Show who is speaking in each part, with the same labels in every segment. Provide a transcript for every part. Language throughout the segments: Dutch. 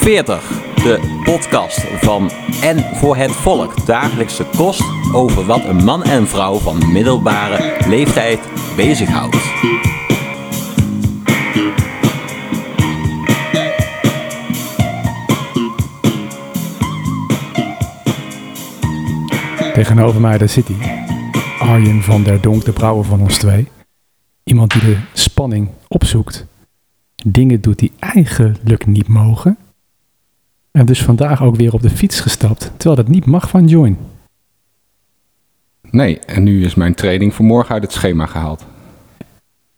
Speaker 1: 40. De podcast van En voor het Volk. Dagelijkse kost over wat een man en vrouw van middelbare leeftijd bezighoudt.
Speaker 2: Tegenover mij daar zit hij. Arjen van der Donk, de brouwer van ons twee. Iemand die de spanning opzoekt. Dingen doet die eigenlijk niet mogen. En dus vandaag ook weer op de fiets gestapt, terwijl dat niet mag van Join.
Speaker 3: Nee, en nu is mijn training voor morgen uit het schema gehaald.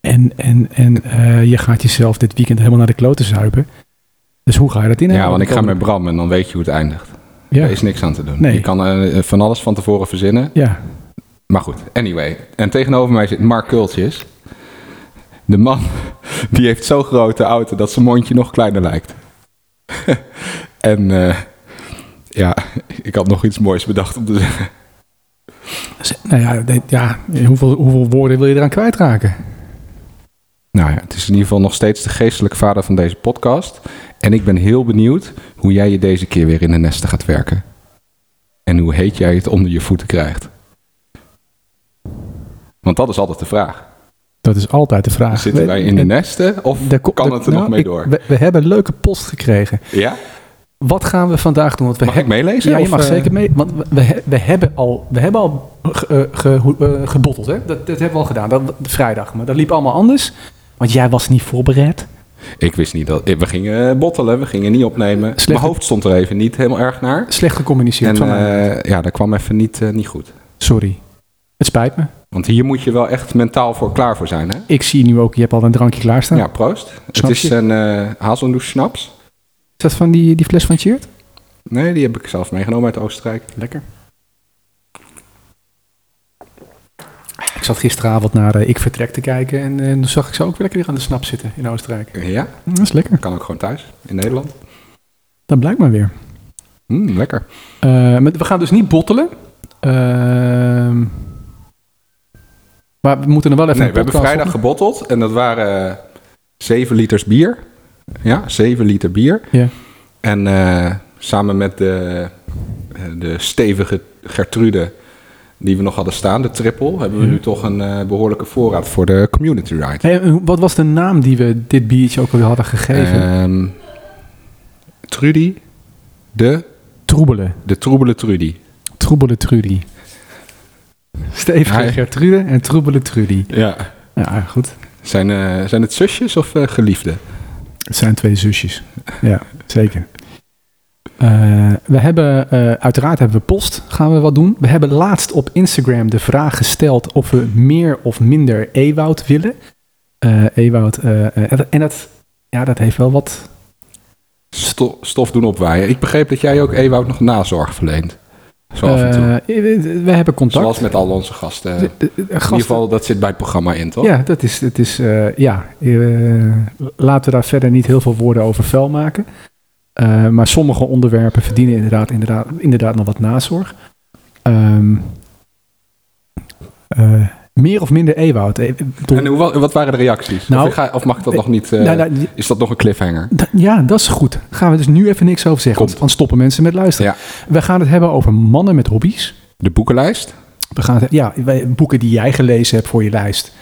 Speaker 2: En, en, en eh, je gaat jezelf dit weekend helemaal naar de kloten zuipen. Dus hoe ga je dat inhouden?
Speaker 3: ja, want ik ga met Bram en dan weet je hoe het eindigt.
Speaker 2: Ja,
Speaker 3: Er is niks aan te doen.
Speaker 2: Nee.
Speaker 3: Je kan eh, van alles van tevoren verzinnen.
Speaker 2: ja.
Speaker 3: Maar goed, anyway. En tegenover mij zit Mark Kultjes. De man die heeft zo'n grote auto dat zijn mondje nog kleiner lijkt. en eh, ja, ik had nog iets moois bedacht om te zeggen.
Speaker 2: Nou ja, dit- ja hoeveel, hoeveel woorden wil je eraan kwijtraken?
Speaker 3: Nou ja, het is in ieder geval nog steeds de geestelijke vader van deze podcast. En ik ben heel benieuwd hoe jij je deze keer weer in de nesten gaat werken. En hoe heet jij het onder je voeten krijgt. Want dat is altijd de vraag.
Speaker 2: Dat is altijd de vraag.
Speaker 3: Zitten
Speaker 2: We-
Speaker 3: wij in de
Speaker 2: en-
Speaker 3: nesten of
Speaker 2: daar ko-
Speaker 3: kan
Speaker 2: daar-
Speaker 3: het er
Speaker 2: nou,
Speaker 3: nog mee
Speaker 2: ik-
Speaker 3: door?
Speaker 2: We, we hebben een leuke post gekregen.
Speaker 3: Ja?
Speaker 2: Wat gaan we vandaag doen? Want we
Speaker 3: Mag ik
Speaker 2: hebben-
Speaker 3: meelezen?
Speaker 2: Ja, je
Speaker 3: Of,
Speaker 2: mag
Speaker 3: eh,
Speaker 2: zeker mee. Want we- we, he- we hebben al, we hebben al ge- eh, ge- hoe- eh, gebotteld. Hè? Dat, dat hebben we al gedaan. Dat, vrijdag. Maar dat liep allemaal anders. Want jij was niet voorbereid.
Speaker 3: Ik wist niet dat... eh, We gingen bottelen, we gingen niet opnemen.
Speaker 2: Slechte-
Speaker 3: Mijn hoofd stond er even niet helemaal erg naar.
Speaker 2: Slecht gecommuniceerd
Speaker 3: En
Speaker 2: van mij.
Speaker 3: eh, ja, dat kwam even niet, eh, niet goed.
Speaker 2: Sorry. Het spijt me.
Speaker 3: Want hier moet je wel echt mentaal voor klaar voor zijn, hè?
Speaker 2: Ik zie nu ook, je hebt al een drankje klaarstaan.
Speaker 3: Ja, proost. Het
Speaker 2: Snapje.
Speaker 3: is een eh hazelnoes snaps.
Speaker 2: Is dat van die, die fles van Cheert?
Speaker 3: Nee, die heb ik zelf meegenomen uit Oostenrijk.
Speaker 2: Lekker. Ik zat gisteravond naar eh, Ik Vertrek te kijken. En eh, toen zag ik ze ook weer lekker weer aan de snap zitten in Oostenrijk.
Speaker 3: Ja,
Speaker 2: Dat is lekker.
Speaker 3: kan ook gewoon thuis in Nederland.
Speaker 2: Dat blijkt maar weer.
Speaker 3: Mm, lekker.
Speaker 2: Eh, maar we gaan dus niet bottelen. Ehm, maar we moeten er wel even
Speaker 3: Nee,
Speaker 2: een
Speaker 3: we hebben
Speaker 2: podcast
Speaker 3: vrijdag gebotteld en dat waren eh 7 liters bier. Ja, 7 liter bier.
Speaker 2: op- Ja.
Speaker 3: En eh, samen met de, eh, de stevige Gertrude die we nog hadden staan, de triple, hebben we
Speaker 2: Mhm.
Speaker 3: nu toch een eh, behoorlijke voorraad voor de community ride.
Speaker 2: Hey, en hoe- wat was de naam die we dit biertje ook al hadden gegeven?
Speaker 3: Ehm, Trudy, de,
Speaker 2: Troebelen.
Speaker 3: de troebele Trudy.
Speaker 2: Troebelen Trudy. Stevige
Speaker 3: Hi.
Speaker 2: Gertrude en Troebelen Trudy.
Speaker 3: Ja.
Speaker 2: Ja, goed.
Speaker 3: Zijn, eh, zijn het zusjes of eh, geliefden?
Speaker 2: Het zijn twee zusjes. Ja, zeker. Eh, we hebben, eh, uiteraard hebben we post, gaan we wat doen. We hebben laatst op Instagram de vraag gesteld of we meer of minder Ewoud willen. Eh Ewoud, eh, eh, en dat- en dat, ja, dat heeft wel wat.
Speaker 3: Sto- stof doen opwaaien. Ik begreep dat jij ook Ewout nog nazorg verleent. Zo af en toe.
Speaker 2: Eh, we, we hebben contact.
Speaker 3: Zoals met al onze gasten.
Speaker 2: Eh, eh,
Speaker 3: In
Speaker 2: gasten.
Speaker 3: ieder geval, dat zit bij het programma in, toch?
Speaker 2: Ja, dat is, dat is eh, ja. eh, laten we daar verder niet heel veel woorden over vuil maken. Eh, maar sommige onderwerpen verdienen inderdaad, inderdaad, inderdaad nog wat nazorg. Ehm, eh, meer of minder Ewoud. Eh, bedoel-
Speaker 3: En hoe, wa- wat waren de reacties?
Speaker 2: Nou,
Speaker 3: of, ik ga- of mag ik dat nog niet... eh,
Speaker 2: Nou, nou,
Speaker 3: Is dat nog een cliffhanger?
Speaker 2: d- ja, dat is goed. Gaan we dus nu even niks over zeggen. Want
Speaker 3: Komt.
Speaker 2: dan stoppen mensen met luisteren.
Speaker 3: Ja.
Speaker 2: We gaan het hebben over mannen met hobby's.
Speaker 3: De boekenlijst?
Speaker 2: We gaan het, ja, wij- boeken die jij gelezen hebt voor je lijst.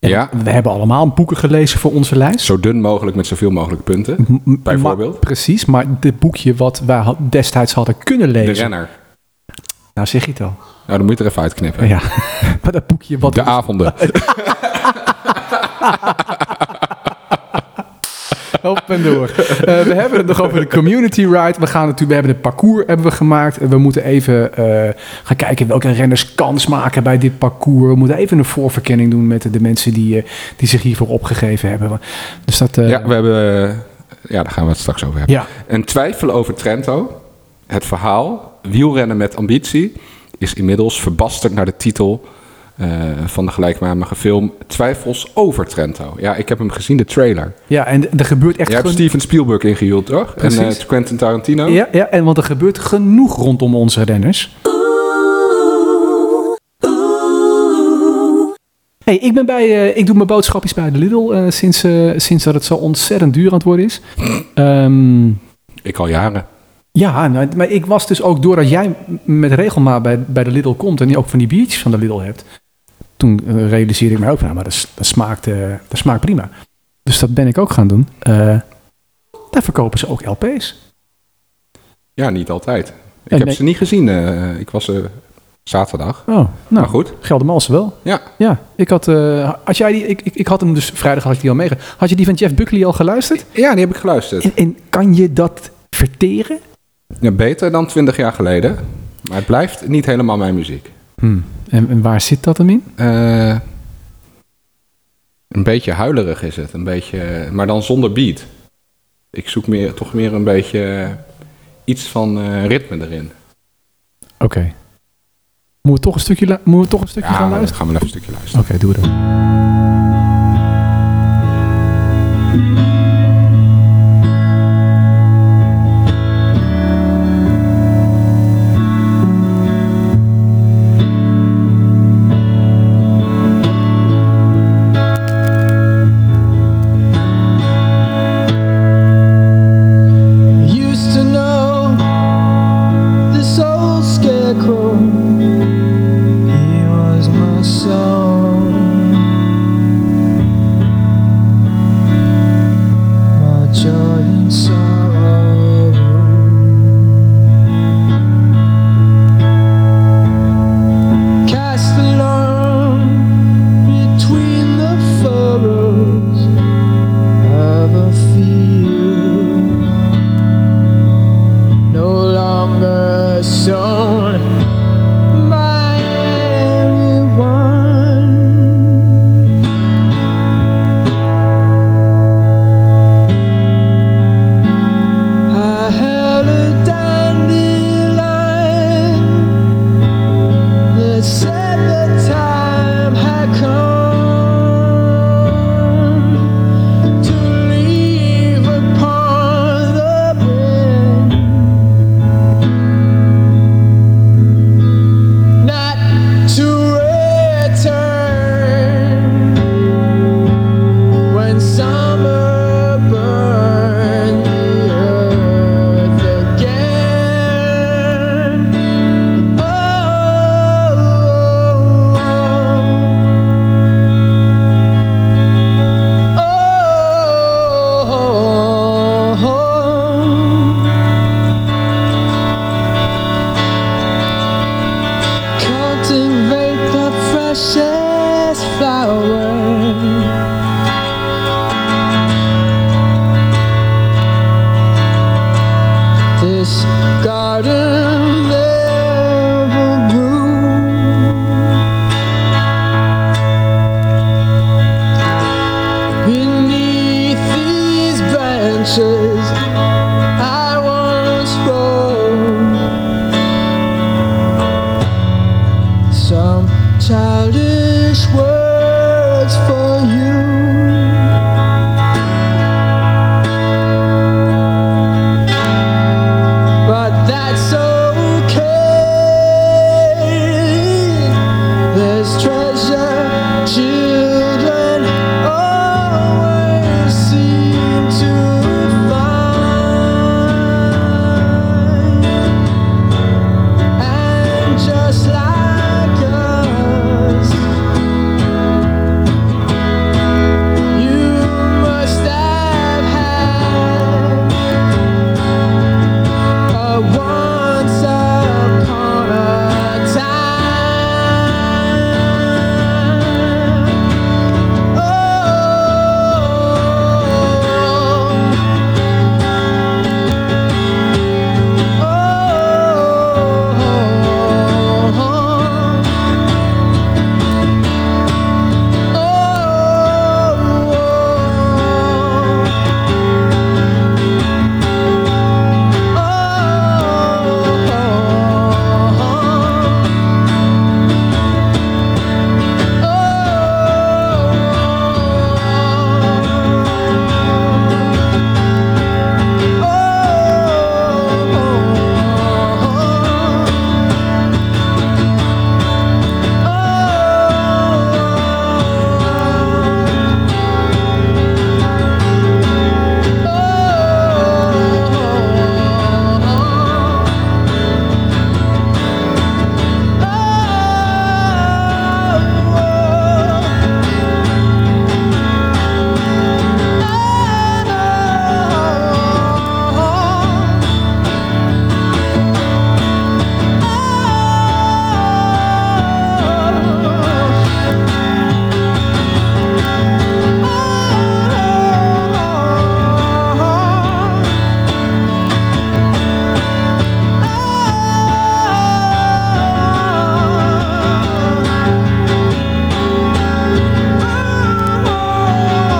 Speaker 2: En
Speaker 3: Ja.
Speaker 2: We hebben allemaal boeken gelezen voor onze lijst.
Speaker 3: Zo dun mogelijk met zoveel mogelijk punten.
Speaker 2: M- m-
Speaker 3: Bijvoorbeeld?
Speaker 2: maar- precies, maar dit boekje wat wij had- destijds hadden kunnen
Speaker 3: De
Speaker 2: lezen.
Speaker 3: renner.
Speaker 2: Nou zeg je het al.
Speaker 3: Nou, dan moet je er even uitknippen.
Speaker 2: Ja. maar dat boekje wat...
Speaker 3: De avonden.
Speaker 2: Op en door. Eh, we hebben het nog over de community ride. We, gaan natuurlijk, we hebben het parcours hebben we gemaakt. En we moeten even eh, gaan kijken welke renners kans maken bij dit parcours. We moeten even een voorverkenning doen met de, de mensen die, eh, die zich hiervoor opgegeven hebben. Dus dat... eh,
Speaker 3: ja, we hebben... eh, Ja, daar gaan we het straks over hebben.
Speaker 2: ja.
Speaker 3: En twijfelen over Trento. Het verhaal, wielrennen met ambitie, is inmiddels verbasterd naar de titel eh, van de gelijknamige film Twijfels over Trento. Ja, ik heb hem gezien, de trailer.
Speaker 2: ja, en er gebeurt echt...
Speaker 3: Jij hebt
Speaker 2: gen-
Speaker 3: Steven Spielberg ingehuurd, toch?
Speaker 2: Precies.
Speaker 3: En eh, Quentin Tarantino.
Speaker 2: ja, ja, en want er gebeurt genoeg rondom onze renners. Hey, ik, ben bij, eh, ik doe mijn boodschapjes bij de Lidl eh, sinds, eh, sinds dat het zo ontzettend duur aan het worden is. Ehm,
Speaker 3: Ik al jaren.
Speaker 2: Ja, nou, maar ik was dus ook doordat jij m- met regelmaat bij, bij de Lidl komt en ook van die biertjes van de Lidl hebt. Toen eh, realiseerde ik me ook van, nou, maar dat, s- dat smaakt, eh, dat smaakt prima. Dus dat ben ik ook gaan doen. Eh, daar verkopen ze ook LP's.
Speaker 3: Ja, niet altijd. Ik
Speaker 2: En
Speaker 3: heb
Speaker 2: nee-
Speaker 3: ze niet gezien. eh, ik was eh, zaterdag.
Speaker 2: Oh, nou,
Speaker 3: Maar goed.
Speaker 2: Geldermalsen wel.
Speaker 3: Ja.
Speaker 2: Ja, ik had, eh, had jij die, ik, ik, ik had hem dus vrijdag had ik die al meege. Had je die van Jeff Buckley al geluisterd?
Speaker 3: ja, die heb ik geluisterd.
Speaker 2: En, en kan je dat verteren?
Speaker 3: Ja, beter dan twintig jaar geleden. Maar het blijft niet helemaal mijn muziek.
Speaker 2: Hmm. En, en waar zit dat hem in?
Speaker 3: Eh, een beetje huilerig is het. Een beetje, maar dan zonder beat. Ik zoek meer, toch meer een beetje eh, iets van eh, ritme erin.
Speaker 2: Oké. Moeten we toch een stukje, lu- moeten we toch een stukje gaan
Speaker 3: Ja,
Speaker 2: luisteren?
Speaker 3: gaan we even een stukje luisteren.
Speaker 2: Oké, doe dat.
Speaker 4: used to know this old scarecrow. He was my soul. My joy and sorrow. Cast along between the furrows of a field no longer shown by anyone. I held a dandelion that said the time had come. To leave upon the bed not to return when summer burned the earth again. Oh, oh, oh. cultivate the freshest flower. This garden never grew. Beneath these branches, I once roamed. some childish words for you. But that's okay. There's treasure children always seem to find. And just like us, you must have had a once upon a time. Oh.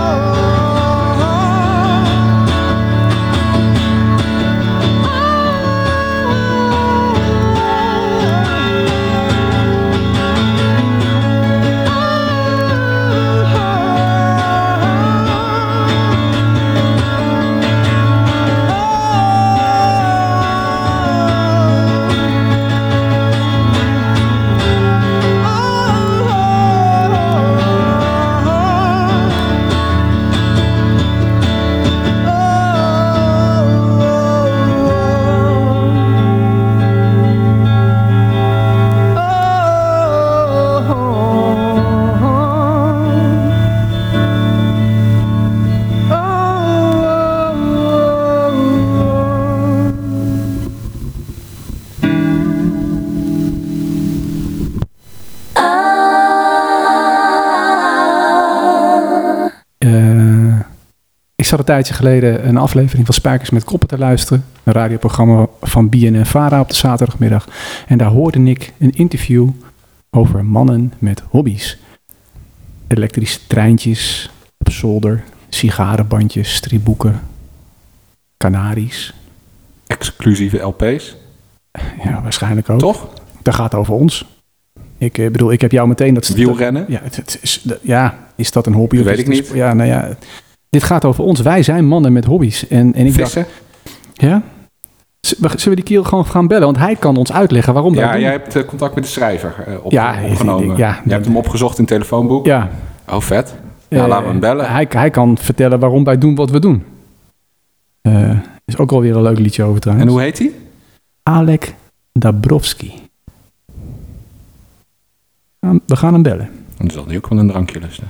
Speaker 4: Oh, oh,
Speaker 2: Eh, zat een tijdje geleden een aflevering van Spijkers met Koppen te luisteren. Een radioprogramma van BNN Vara op de zaterdagmiddag. En daar hoorde ik een interview over mannen met hobby's. Elektrische treintjes op zolder, sigarenbandjes, striboeken, kanaries.
Speaker 3: Exclusieve LP's,
Speaker 2: Ja, waarschijnlijk ook.
Speaker 3: toch?
Speaker 2: Dat gaat over ons. Ik eh, bedoel, ik heb jou meteen dat...
Speaker 3: Wielrennen.
Speaker 2: Ja, het, het is, de- ja, is dat een hobby? of
Speaker 3: Weet
Speaker 2: is
Speaker 3: ik
Speaker 2: het een
Speaker 3: niet.
Speaker 2: sp- Ja, nou ja. Dit gaat over ons. Wij zijn mannen met hobby's. En, en ik dacht,
Speaker 3: Vissen.
Speaker 2: ja? Z- we- Zullen we die kerel gewoon gaan bellen? Want hij kan ons uitleggen waarom dat
Speaker 3: Ja,
Speaker 2: doen.
Speaker 3: jij hebt eh, contact met de schrijver eh, op,
Speaker 2: Ja, ik-
Speaker 3: opgenomen.
Speaker 2: ik- ja.
Speaker 3: Je hebt hem opgezocht in het telefoonboek.
Speaker 2: Ja.
Speaker 3: Oh, vet. Ja,
Speaker 2: eh,
Speaker 3: laten we hem bellen.
Speaker 2: Hij, hij kan vertellen waarom wij doen wat we doen. Eh, is ook alweer een leuk liedje over trouwens.
Speaker 3: En hoe heet hij?
Speaker 2: Alek Dabrowski. Ah, We gaan hem bellen.
Speaker 3: Dan zal hij ook wel een drankje lusten.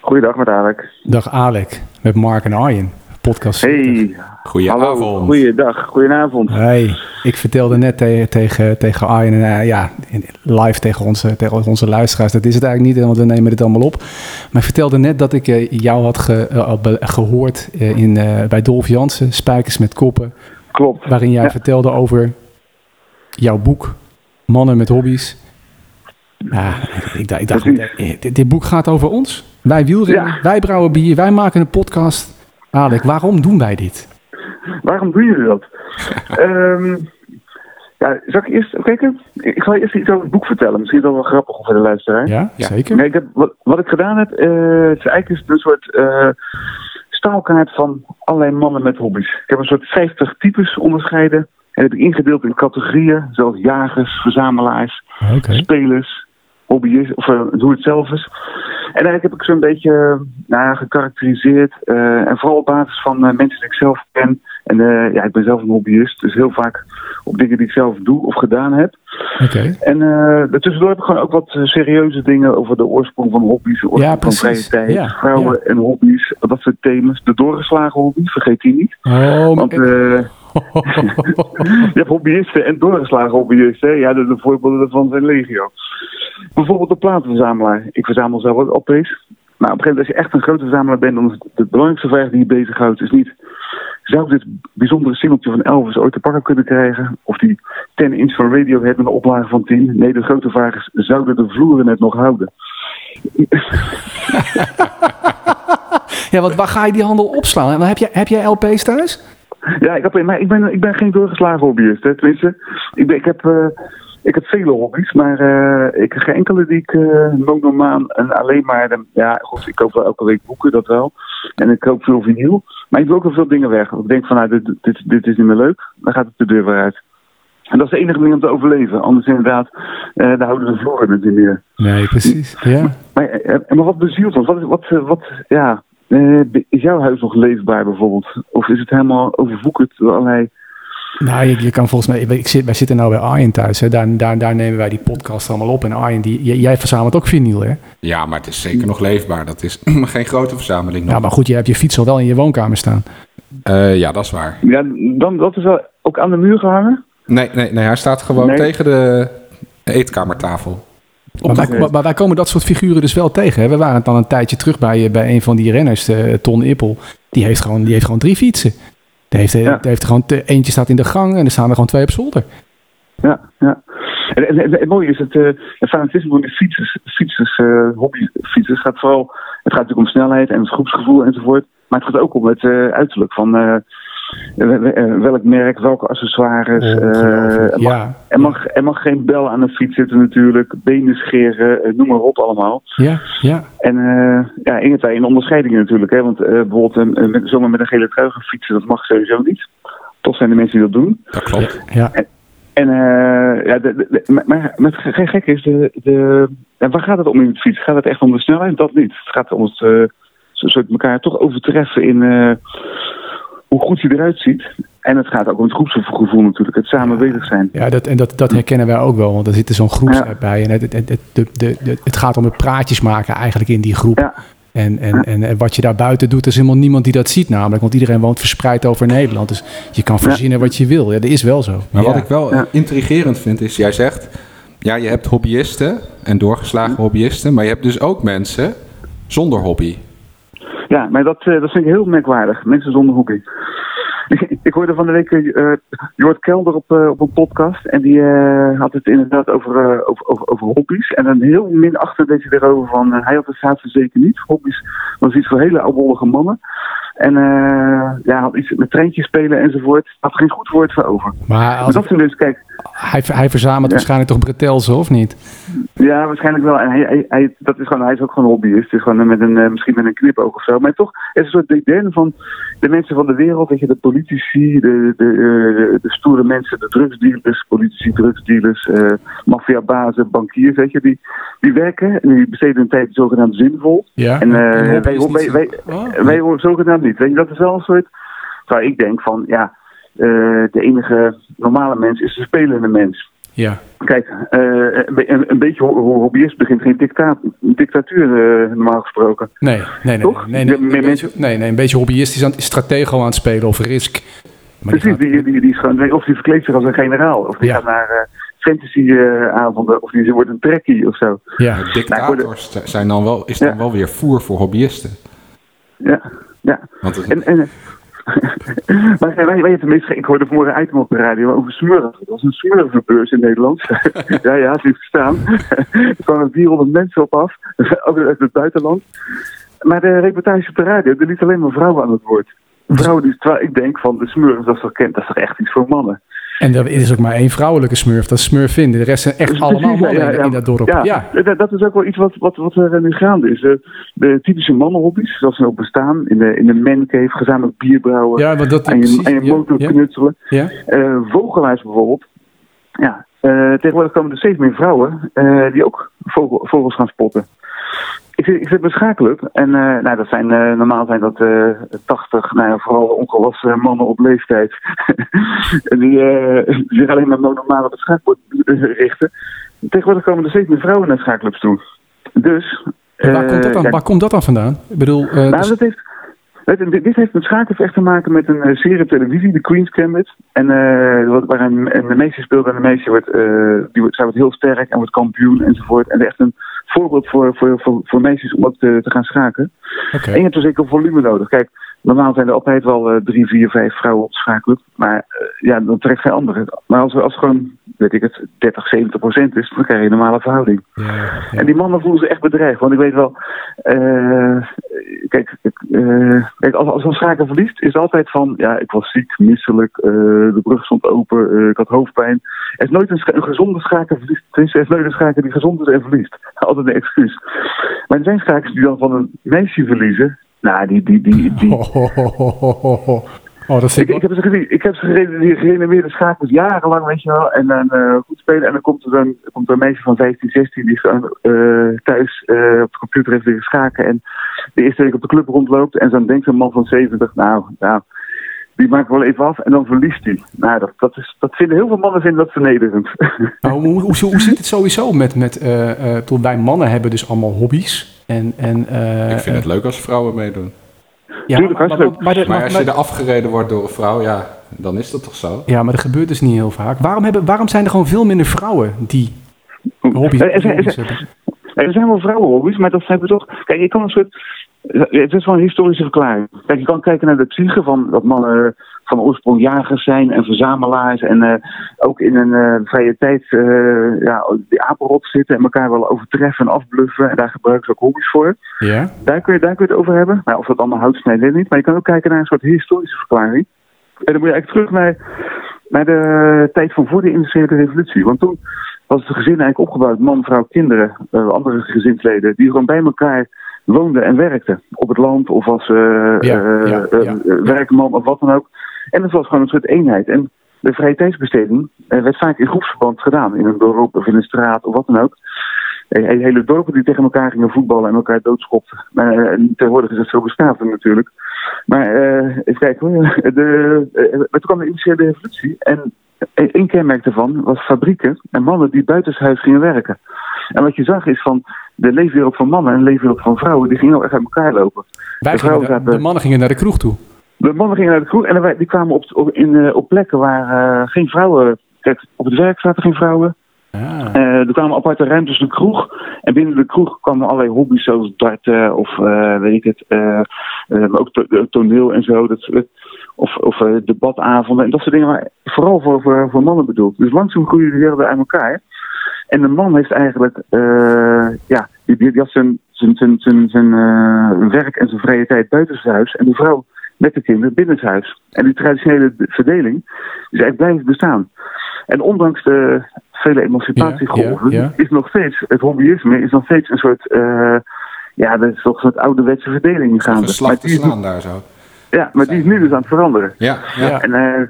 Speaker 5: Goeiedag met Alex.
Speaker 2: Dag Alek, met Mark en Arjen. Podcast.
Speaker 5: Hey, hallo,
Speaker 3: Goedenavond.
Speaker 5: goeiedag, goedenavond.
Speaker 2: Hey, ik vertelde net te- tegen, tegen Arjen, en, eh, ja, in- live tegen onze, tegen onze luisteraars, dat is het eigenlijk niet, want we nemen dit allemaal op. Maar ik vertelde net dat ik eh, jou had ge- eh, al be- gehoord eh, in, eh, bij Dolf Jansen, Spijkers met Koppen,
Speaker 5: Klopt.
Speaker 2: waarin jij
Speaker 5: Ja.
Speaker 2: vertelde over jouw boek, Mannen met Hobby's. Ja, ik, dacht- ik dacht, eh, dit, dit boek gaat over ons. Wij wielrennen,
Speaker 5: Ja.
Speaker 2: wij brouwen bier, wij maken een podcast. Alek, waarom doen wij dit?
Speaker 5: Waarom doen jullie dat? Ehm, ja, zal ik eerst even kijken? Ik zal eerst iets over het boek vertellen. Misschien is dat wel grappig voor de luisteraar.
Speaker 2: Ja,
Speaker 3: Ja.
Speaker 2: zeker.
Speaker 5: Nee, ik heb, wat, wat ik gedaan heb, eh, het is eigenlijk is het een soort eh staalkaart van allerlei mannen met hobby's. Ik heb een soort 50 types onderscheiden. En heb ik ingedeeld in categorieën, zoals jagers, verzamelaars,
Speaker 2: Oké.
Speaker 5: spelers, hobby's, of eh, doe het zelf eens. En eigenlijk heb ik zo'n beetje eh, nou ja, gekarakteriseerd. eh, en vooral op basis van eh, mensen die ik zelf ken. En eh, ja, ik ben zelf een hobbyist, dus heel vaak op dingen die ik zelf doe of gedaan heb.
Speaker 2: Oké.
Speaker 5: En eh daartussendoor heb ik gewoon ook wat eh, serieuze dingen over de oorsprong van hobby's, de oorsprong
Speaker 2: Ja,
Speaker 5: van
Speaker 2: precies.
Speaker 5: vrije tijd,
Speaker 2: Ja,
Speaker 5: vrouwen en hobby's, dat soort thema's. De doorgeslagen hobby, vergeet die niet.
Speaker 2: Oh,
Speaker 5: Want
Speaker 2: maar-
Speaker 5: eh, je hebt eh, hobbyisten en doorgeslagen hobbyisten. hè. Ja, de, de voorbeelden daarvan zijn legio. Bijvoorbeeld de platenverzamelaar. Ik verzamel zelf ook LP's. Maar op een gegeven moment, als je echt een grote verzamelaar bent, dan is de belangrijkste vraag die je bezighoudt, is niet... Zou ik dit bijzondere singeltje van Elvis ooit te pakken kunnen krijgen? Of die 10 inch van Radiohead met een oplage van 10? Nee, de grote vraag is, zouden de vloeren het nog houden?
Speaker 2: ja, want waar ga je die handel opslaan? En Heb jij, heb jij LP's thuis?
Speaker 5: Ja, ik, heb, maar ik, ben, ik ben geen doorgeslagen hobbyist. Hè. Tenminste, ik, ben, ik, heb, eh, ik heb vele hobby's, maar eh, ik heb geen enkele die ik eh monomaan en alleen maar... de- ja, goed, ik koop wel elke week boeken, dat wel. En ik koop veel vinyl. Maar ik doe ook wel veel dingen weg. Ik denk van, nou, dit, dit, dit is niet meer leuk. Dan gaat het de deur weer uit. En dat is de enige manier om te overleven. Anders inderdaad, eh daar houden de vloeren het niet meer.
Speaker 2: Nee, precies. Ja.
Speaker 5: Maar, eh, eh, maar wat bezielt ons? Wat, is- wat, eh, wat ja, eh, is jouw huis nog leefbaar bijvoorbeeld? Of is het helemaal overvoekerd door allerlei...
Speaker 2: Nou, je, je kan volgens mij... Ik zit, wij zitten nou bij Arjen thuis. Hè. Daar, daar, daar nemen wij die podcast allemaal op. En Arjen, die, j- jij verzamelt ook vinyl, hè?
Speaker 3: Ja, maar het is zeker nog leefbaar. Dat is geen grote verzameling nog.
Speaker 2: Ja, Nou, maar goed, je hebt je fiets al wel in je woonkamer staan.
Speaker 3: Eh, ja, dat is waar.
Speaker 5: Ja, dan, dat is wel ook aan de muur gehangen.
Speaker 3: Nee, nee, nee hij staat gewoon
Speaker 5: Nee.
Speaker 3: tegen de eetkamertafel.
Speaker 2: Maar wij, maar- maar wij komen dat soort figuren dus wel tegen. Hè? We waren dan een tijdje terug bij, eh, bij een van die renners, eh, Ton Ippel. Die heeft gewoon, die heeft gewoon drie fietsen. Die heeft, eh,
Speaker 5: Ja.
Speaker 2: die heeft gewoon, te- eentje staat in de gang en er staan er gewoon twee op zolder.
Speaker 5: Ja, ja. En, en, en het mooie is het, eh het fanatisme van de fietsers, fietsers eh, hobby, fietsers gaat vooral, het gaat natuurlijk om snelheid en het groepsgevoel enzovoort. Maar het gaat ook om het eh, uiterlijk van eh, we- we- eh, welk merk, welke accessoires. eh,
Speaker 2: Ongelooflijk.
Speaker 5: er, mag,
Speaker 2: ja,
Speaker 5: er, mag, er mag geen bel aan de fiets zitten natuurlijk, benen scheren, eh, noem maar op allemaal.
Speaker 2: ja, ja.
Speaker 5: En eh ja, één en twee in onderscheidingen natuurlijk. Hè? Want eh, bijvoorbeeld eh, met, zomaar met een gele trui gaan fietsen, dat mag sowieso niet. Toch zijn er mensen die dat doen.
Speaker 3: Dat klopt.
Speaker 2: ja.
Speaker 5: En eh, ja, de, de- de- maar, maar, maar het ge- gek is, de, de, en waar gaat het om in het fiets? Gaat het echt om de snelheid? Dat niet. Het gaat om het eh, zo- soort elkaar toch overtreffen in eh, hoe goed je eruit ziet. En het gaat ook om het groepsgevoel natuurlijk, het samen bezig zijn.
Speaker 2: Ja, dat, en dat, dat herkennen wij ook wel, want eh, er zit er zo'n groepsapp bij. En het, het, het, het, de- de- de- het gaat om het praatjes maken eigenlijk in die groep.
Speaker 5: Ja,
Speaker 2: En, en, en, en wat je daar buiten doet, er is helemaal niemand die dat ziet namelijk. Want iedereen woont verspreid over Nederland. Dus je kan verzinnen wat je wil. Ja, dat is wel zo.
Speaker 3: Maar
Speaker 2: Ja.
Speaker 3: wat ik wel eh, intrigerend vind is, jij zegt, ja, je hebt hobbyisten en doorgeslagen
Speaker 5: Hm.
Speaker 3: hobbyisten, maar je hebt dus ook mensen zonder hobby.
Speaker 5: Ja, maar dat, eh, dat vind ik heel merkwaardig. Mensen zonder hobby. ik hoorde van de week eh Jort Kelder op, eh, op een podcast. En die eh, had het inderdaad over, eh, over, over, over hobby's. En een heel min achter deed hij erover van... eh, hij had het staat zeker niet. Hobby's was iets voor hele oudbollige mannen. En eh, ja, had iets met treintjes spelen enzovoort. Had geen goed woord voor over.
Speaker 2: Maar
Speaker 5: Maar
Speaker 2: als,
Speaker 5: dat toen eens, kijk...
Speaker 2: hij, hij verzamelt
Speaker 5: Ja.
Speaker 2: waarschijnlijk toch bretelsen, of niet?
Speaker 5: Ja, waarschijnlijk wel. En hij, hij, hij- dat is gewoon, hij is ook gewoon hobbyist. Het is gewoon met een, eh, misschien met een knipoog of zo. Maar toch er is een soort deden van de mensen van de wereld. Weet je, de politici, de, de, eh, de stoere mensen, de drugsdealers, politici, drugsdealers, eh maffiabazen, bankiers. Weet je, die, die werken en die besteden hun tijd zogenaamd zinvol.
Speaker 2: Ja.
Speaker 5: En eh,
Speaker 3: hobby
Speaker 5: wij,
Speaker 3: is niet
Speaker 5: wij,
Speaker 3: zo-
Speaker 5: wij,
Speaker 2: Oh.
Speaker 5: wij horen zogenaamd niet. Weet je, dat is wel een soort. Waar ik denk van, ja, eh, de enige normale mens is de spelende mens.
Speaker 2: Ja.
Speaker 5: Kijk, eh, een, be- een- een beetje ho- ho- hobbyist begint geen dicta dictatuur, eh, normaal gesproken.
Speaker 2: Nee, nee, nee.
Speaker 5: Toch?
Speaker 2: Nee,
Speaker 5: Ja,
Speaker 2: nee,
Speaker 5: meer
Speaker 2: een beetje,
Speaker 5: mensen-
Speaker 2: nee, nee, een beetje hobbyistisch aan, stratego aan het spelen of risk. Maar die
Speaker 5: Precies,
Speaker 2: gaat-
Speaker 5: die, die, die is gewoon, of die verkleedt zich als een generaal, of die
Speaker 2: Ja.
Speaker 5: gaat naar eh, fantasy-avonden, of die wordt een trekkie of zo.
Speaker 2: ja.
Speaker 3: Dictators zijn dan wel, is dan
Speaker 5: Nou, Ja.
Speaker 3: wel weer voer voor hobbyisten.
Speaker 5: Ja, ja.
Speaker 3: Want het-
Speaker 5: En, en, maar wij, wij hebben tenminste, ik hoorde vanmorgen een item op de radio over smurf. Dat was een smurfenbeurs in Nederland. ja, ja, het heeft gestaan. er kwamen 400 mensen op af, ook uit het buitenland. Maar de reportage op de radio, er liet alleen maar vrouwen aan het woord. Vrouwen die, terwijl ik denk van de smurf, dat is toch, kent, dat is toch echt iets voor mannen.
Speaker 2: En er is ook maar één vrouwelijke smurf, dat is Smurfin. De rest zijn echt allemaal
Speaker 5: Precies,
Speaker 2: mannen in- in dat dorp.
Speaker 5: Ja,
Speaker 2: ja.
Speaker 5: dat- dat is ook wel iets wat, wat, wat er nu gaande is. De, de typische mannenhobby's, zoals ze ook bestaan, in de, in de mancave, gezamenlijk bier brouwen,
Speaker 2: Ja, want dat
Speaker 5: aan je,
Speaker 2: precies,
Speaker 5: aan je
Speaker 2: ja,
Speaker 5: motor
Speaker 2: ja.
Speaker 5: knutselen.
Speaker 2: ja.
Speaker 5: Eh, vogelaars bijvoorbeeld. Ja, eh, tegenwoordig komen er steeds meer vrouwen eh, die ook vogel- vogels gaan spotten. Ik zit, ik zit bij een schaakclub en eh, nou, dat zijn, eh, normaal zijn dat eh 80, nou, ja, vooral ongewassen mannen op leeftijd. die eh, zich alleen maar normaal op het schaakbord eh, richten. Tegenwoordig komen er steeds meer vrouwen naar schaakclubs toe. Dus.
Speaker 2: En Waar, komt dat
Speaker 5: eh,
Speaker 2: dan,
Speaker 5: ja,
Speaker 2: waar komt dat dan vandaan? Ik bedoel, eh,
Speaker 5: nou,
Speaker 2: dus-
Speaker 5: dat heeft, weet je, dit- dit heeft met schaken echt te maken met een eh, serie op televisie, de Queen's Gambit. En eh, wat, waar een, een meisje speelt en de meisje wordt, eh, die wordt, zij wordt heel sterk en wordt kampioen enzovoort. En echt een voorbeeld voor, voor, voor, voor meisjes om ook te, te gaan schaken.
Speaker 2: oké.
Speaker 5: En je hebt dus zeker volume nodig. Kijk, normaal zijn er altijd wel eh, drie, vier, vijf vrouwen op de schaakclub. Maar eh, ja, dan trekt geen andere. Maar als er als er gewoon, weet ik het, 30, 70 procent is, dan krijg je een normale verhouding.
Speaker 2: Ja, ja.
Speaker 5: En die mannen voelen zich echt bedreigd. Want ik weet wel, eh, kijk, ik, eh, kijk, als, als een schaker verliest, is het altijd van, ja, ik was ziek, misselijk, eh, de brug stond open, eh, ik had hoofdpijn. Er is nooit een, scha- een gezonde schaker verliest. Tenminste, er is nooit een schaker die gezond is en verliest. Altijd een excuus. Maar er zijn schakers die dan van een meisje verliezen. Nou, die, die, die, die,
Speaker 2: Oh, Ho, ho, ho, ho, ho, ho, ho. Oh, dat
Speaker 5: ik,
Speaker 2: vind ik
Speaker 5: ik heb ze gezien. Ik heb ze gereden, die gerenommeerde schakels jarenlang, weet je wel. En dan eh, goed spelen. En dan komt er dan komt er een meisje van 15, 16 die gewoon eh, thuis eh, op de computer heeft liggen schaken. En de eerste week op de club rondloopt. En dan denkt een man van 70, nou, nou, die maakt wel even af. En dan verliest hij. Nou, dat, dat, is, dat vinden heel veel mannen vinden dat vernederend.
Speaker 2: Maar Nou, hoe, hoe, hoe, hoe zit het sowieso met... met eh, eh, ik bedoel, wij mannen hebben dus allemaal hobby's. En, en, eh,
Speaker 3: ik vind het leuk als vrouwen meedoen.
Speaker 2: ja,
Speaker 5: tuurlijk,
Speaker 2: maar, maar,
Speaker 5: hartstikke
Speaker 2: maar- maar- maar-
Speaker 3: Maar als je er afgereden wordt door een vrouw, ja, dan is dat toch zo?
Speaker 2: Ja, maar dat gebeurt dus niet heel vaak. Waarom, hebben, waarom zijn er gewoon veel minder vrouwen die hobby's,
Speaker 5: Er- er- er-
Speaker 2: hobby's hebben?
Speaker 5: Ja, Er zijn wel vrouwenhobby's, maar dat hebben we toch. Kijk, je kan een soort. Het is wel een historische verklaring. Kijk, je kan kijken naar de psyche van dat mannen eh, van oorsprong jagers zijn en verzamelaars. En eh, ook in een eh, vrije tijd eh, ja, die apenrot zitten en elkaar willen overtreffen en afbluffen. En daar gebruiken ze ook hobby's voor.
Speaker 2: Ja,
Speaker 5: Daar kun je, daar kun je het over hebben. Maar of dat allemaal houdt, nee, weet ik niet. Maar je kan ook kijken naar een soort historische verklaring. En dan moet je eigenlijk terug naar, naar de tijd van voor de industriële revolutie. Want toen was het gezin eigenlijk opgebouwd. Man, vrouw, kinderen, eh, andere gezinsleden. Die gewoon bij elkaar woonden en werkten. Op het land of als eh eh,
Speaker 2: ja,
Speaker 5: eh,
Speaker 2: ja.
Speaker 5: eh, werkman of wat dan ook. En dat was gewoon een soort eenheid. En de vrije tijdsbesteding eh, werd vaak in groepsverband gedaan. In een dorp of in een straat of wat dan ook. Eh, eh, Hele dorpen die tegen elkaar gingen voetballen en elkaar doodschopten. Maar eh, tegenwoordig is het zo beschavend natuurlijk. Maar eh, even kijken hoor. De, eh, maar toen kwam de industriële revolutie. En één kenmerk daarvan was fabrieken en mannen die buitenshuis gingen werken. En wat je zag is van de leefwereld van mannen en de leefwereld van vrouwen, die gingen nou echt uit elkaar lopen.
Speaker 2: Wij
Speaker 5: de,
Speaker 2: gingen
Speaker 5: vrouwen
Speaker 2: naar-
Speaker 5: zaten,
Speaker 2: de mannen gingen naar de kroeg toe.
Speaker 5: de mannen gingen naar de kroeg en dan wij- die kwamen op, op, in, eh, op plekken waar eh, geen vrouwen. Kijk, op het werk zaten geen vrouwen.
Speaker 2: Ah.
Speaker 5: Eh, er kwamen aparte ruimtes, de kroeg. En binnen de kroeg kwamen allerlei hobby's zoals darten of eh, weet ik het. eh, eh, maar ook to- eh, toneel en zo. Dat, dat- of of eh, debatavonden en dat soort dingen. Maar vooral voor, voor, voor mannen bedoeld. Dus langzaam groeien de werelden uit elkaar. En de man heeft eigenlijk, eh, ja, die, die, die had zijn, zijn, zijn, zijn, zijn eh, werk en zijn vrije tijd buitenshuis. En de vrouw met de kinderen binnenshuis. En die traditionele verdeling is eigenlijk blijven bestaan. En ondanks de vele emancipatiegolven,
Speaker 2: Ja, ja, ja.
Speaker 5: is nog steeds, het hobbyisme is nog steeds een soort, eh, ja, dat is toch een soort ouderwetse verdeling gaande. Maar
Speaker 3: Geslacht te
Speaker 5: die, is,
Speaker 3: slaan daar zo.
Speaker 5: ja, maar die is nu dus aan het veranderen.
Speaker 3: Ja, ja.
Speaker 2: Ja.
Speaker 5: En eh,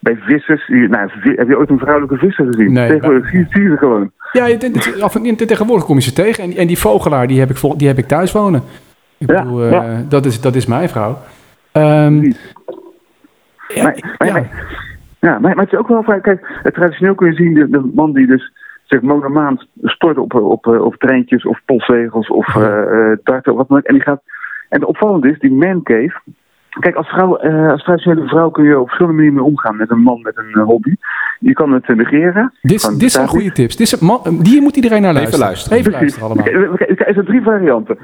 Speaker 5: bij vissers, die- nou, vi- heb je ooit een vrouwelijke visser gezien?
Speaker 2: Nee,
Speaker 5: Tegenwoordig
Speaker 2: maar-
Speaker 5: zie zie je ze gewoon.
Speaker 2: Ja, je- dit- dit- af en dit- tegenwoordig kom je ze tegen. En, en die vogelaar, die heb ik, vol- die heb ik thuis wonen. Ik
Speaker 5: Ja,
Speaker 2: bedoel, eh,
Speaker 5: ja.
Speaker 2: dat, is, dat is mijn vrouw. Ehm, ja,
Speaker 5: Maar- maar-
Speaker 2: ja.
Speaker 5: maar- Ja, maar, maar het is ook wel vaak, kijk, eh, traditioneel kun je zien de, de man die dus zeg monomaand stort op, op, eh, op treintjes of postzegels of eh, eh, darten of wat dan ook. En die gaat, en opvallend is, die man cave. Kijk, als, vrouw, eh, als traditionele vrouw kun je op verschillende manieren mee omgaan met een man met een eh, hobby. Je kan het eh, negeren.
Speaker 2: Dit,
Speaker 5: Van-
Speaker 2: dit zijn
Speaker 5: daar-
Speaker 2: goede tips. Dit zijn, man, hier moet iedereen naar luisteren.
Speaker 3: luisteren.
Speaker 2: Even luisteren allemaal.
Speaker 5: Oké, oké, oké, Er zijn drie varianten.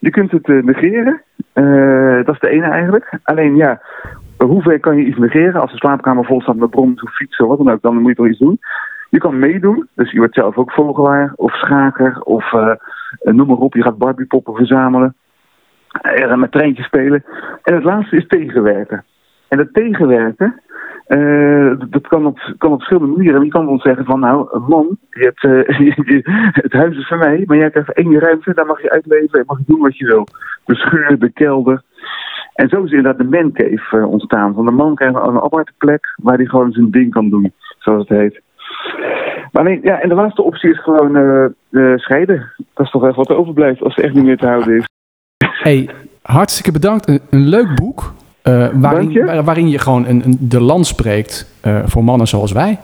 Speaker 5: Je kunt het eh, negeren. Eh, dat is de ene eigenlijk. Alleen ja, hoe ver kan je iets negeren? Als de slaapkamer vol staat met brommers of fietsen, wat dan ook, dan moet je toch iets doen. Je kan meedoen. Dus je wordt zelf ook vogelaar of schaker of eh, eh, noem maar op. Je gaat Barbiepoppen verzamelen. Eh, met treintjes spelen. En het laatste is tegenwerken. En dat tegenwerken, eh, dat- dat kan op, kan op verschillende manieren. Je kan wel zeggen van, nou, een man, je hebt, eh, je- je- het huis is van mij, maar jij krijgt één ruimte, daar mag je uitleven en mag je doen wat je wil. De scheur, de kelder. En zo is inderdaad de man cave eh, ontstaan. Van de man krijgt een aparte plek waar hij gewoon zijn ding kan doen, zoals het heet. Maar nee, ja, en de laatste optie is gewoon eh, eh, scheiden. Dat is toch echt wat er overblijft als het echt niet meer te houden is.
Speaker 2: Hey, hartstikke bedankt. Een, een leuk boek. eh, waarin,
Speaker 5: Dank je.
Speaker 2: waar- waarin je gewoon een, een, de land spreekt eh, voor mannen zoals wij.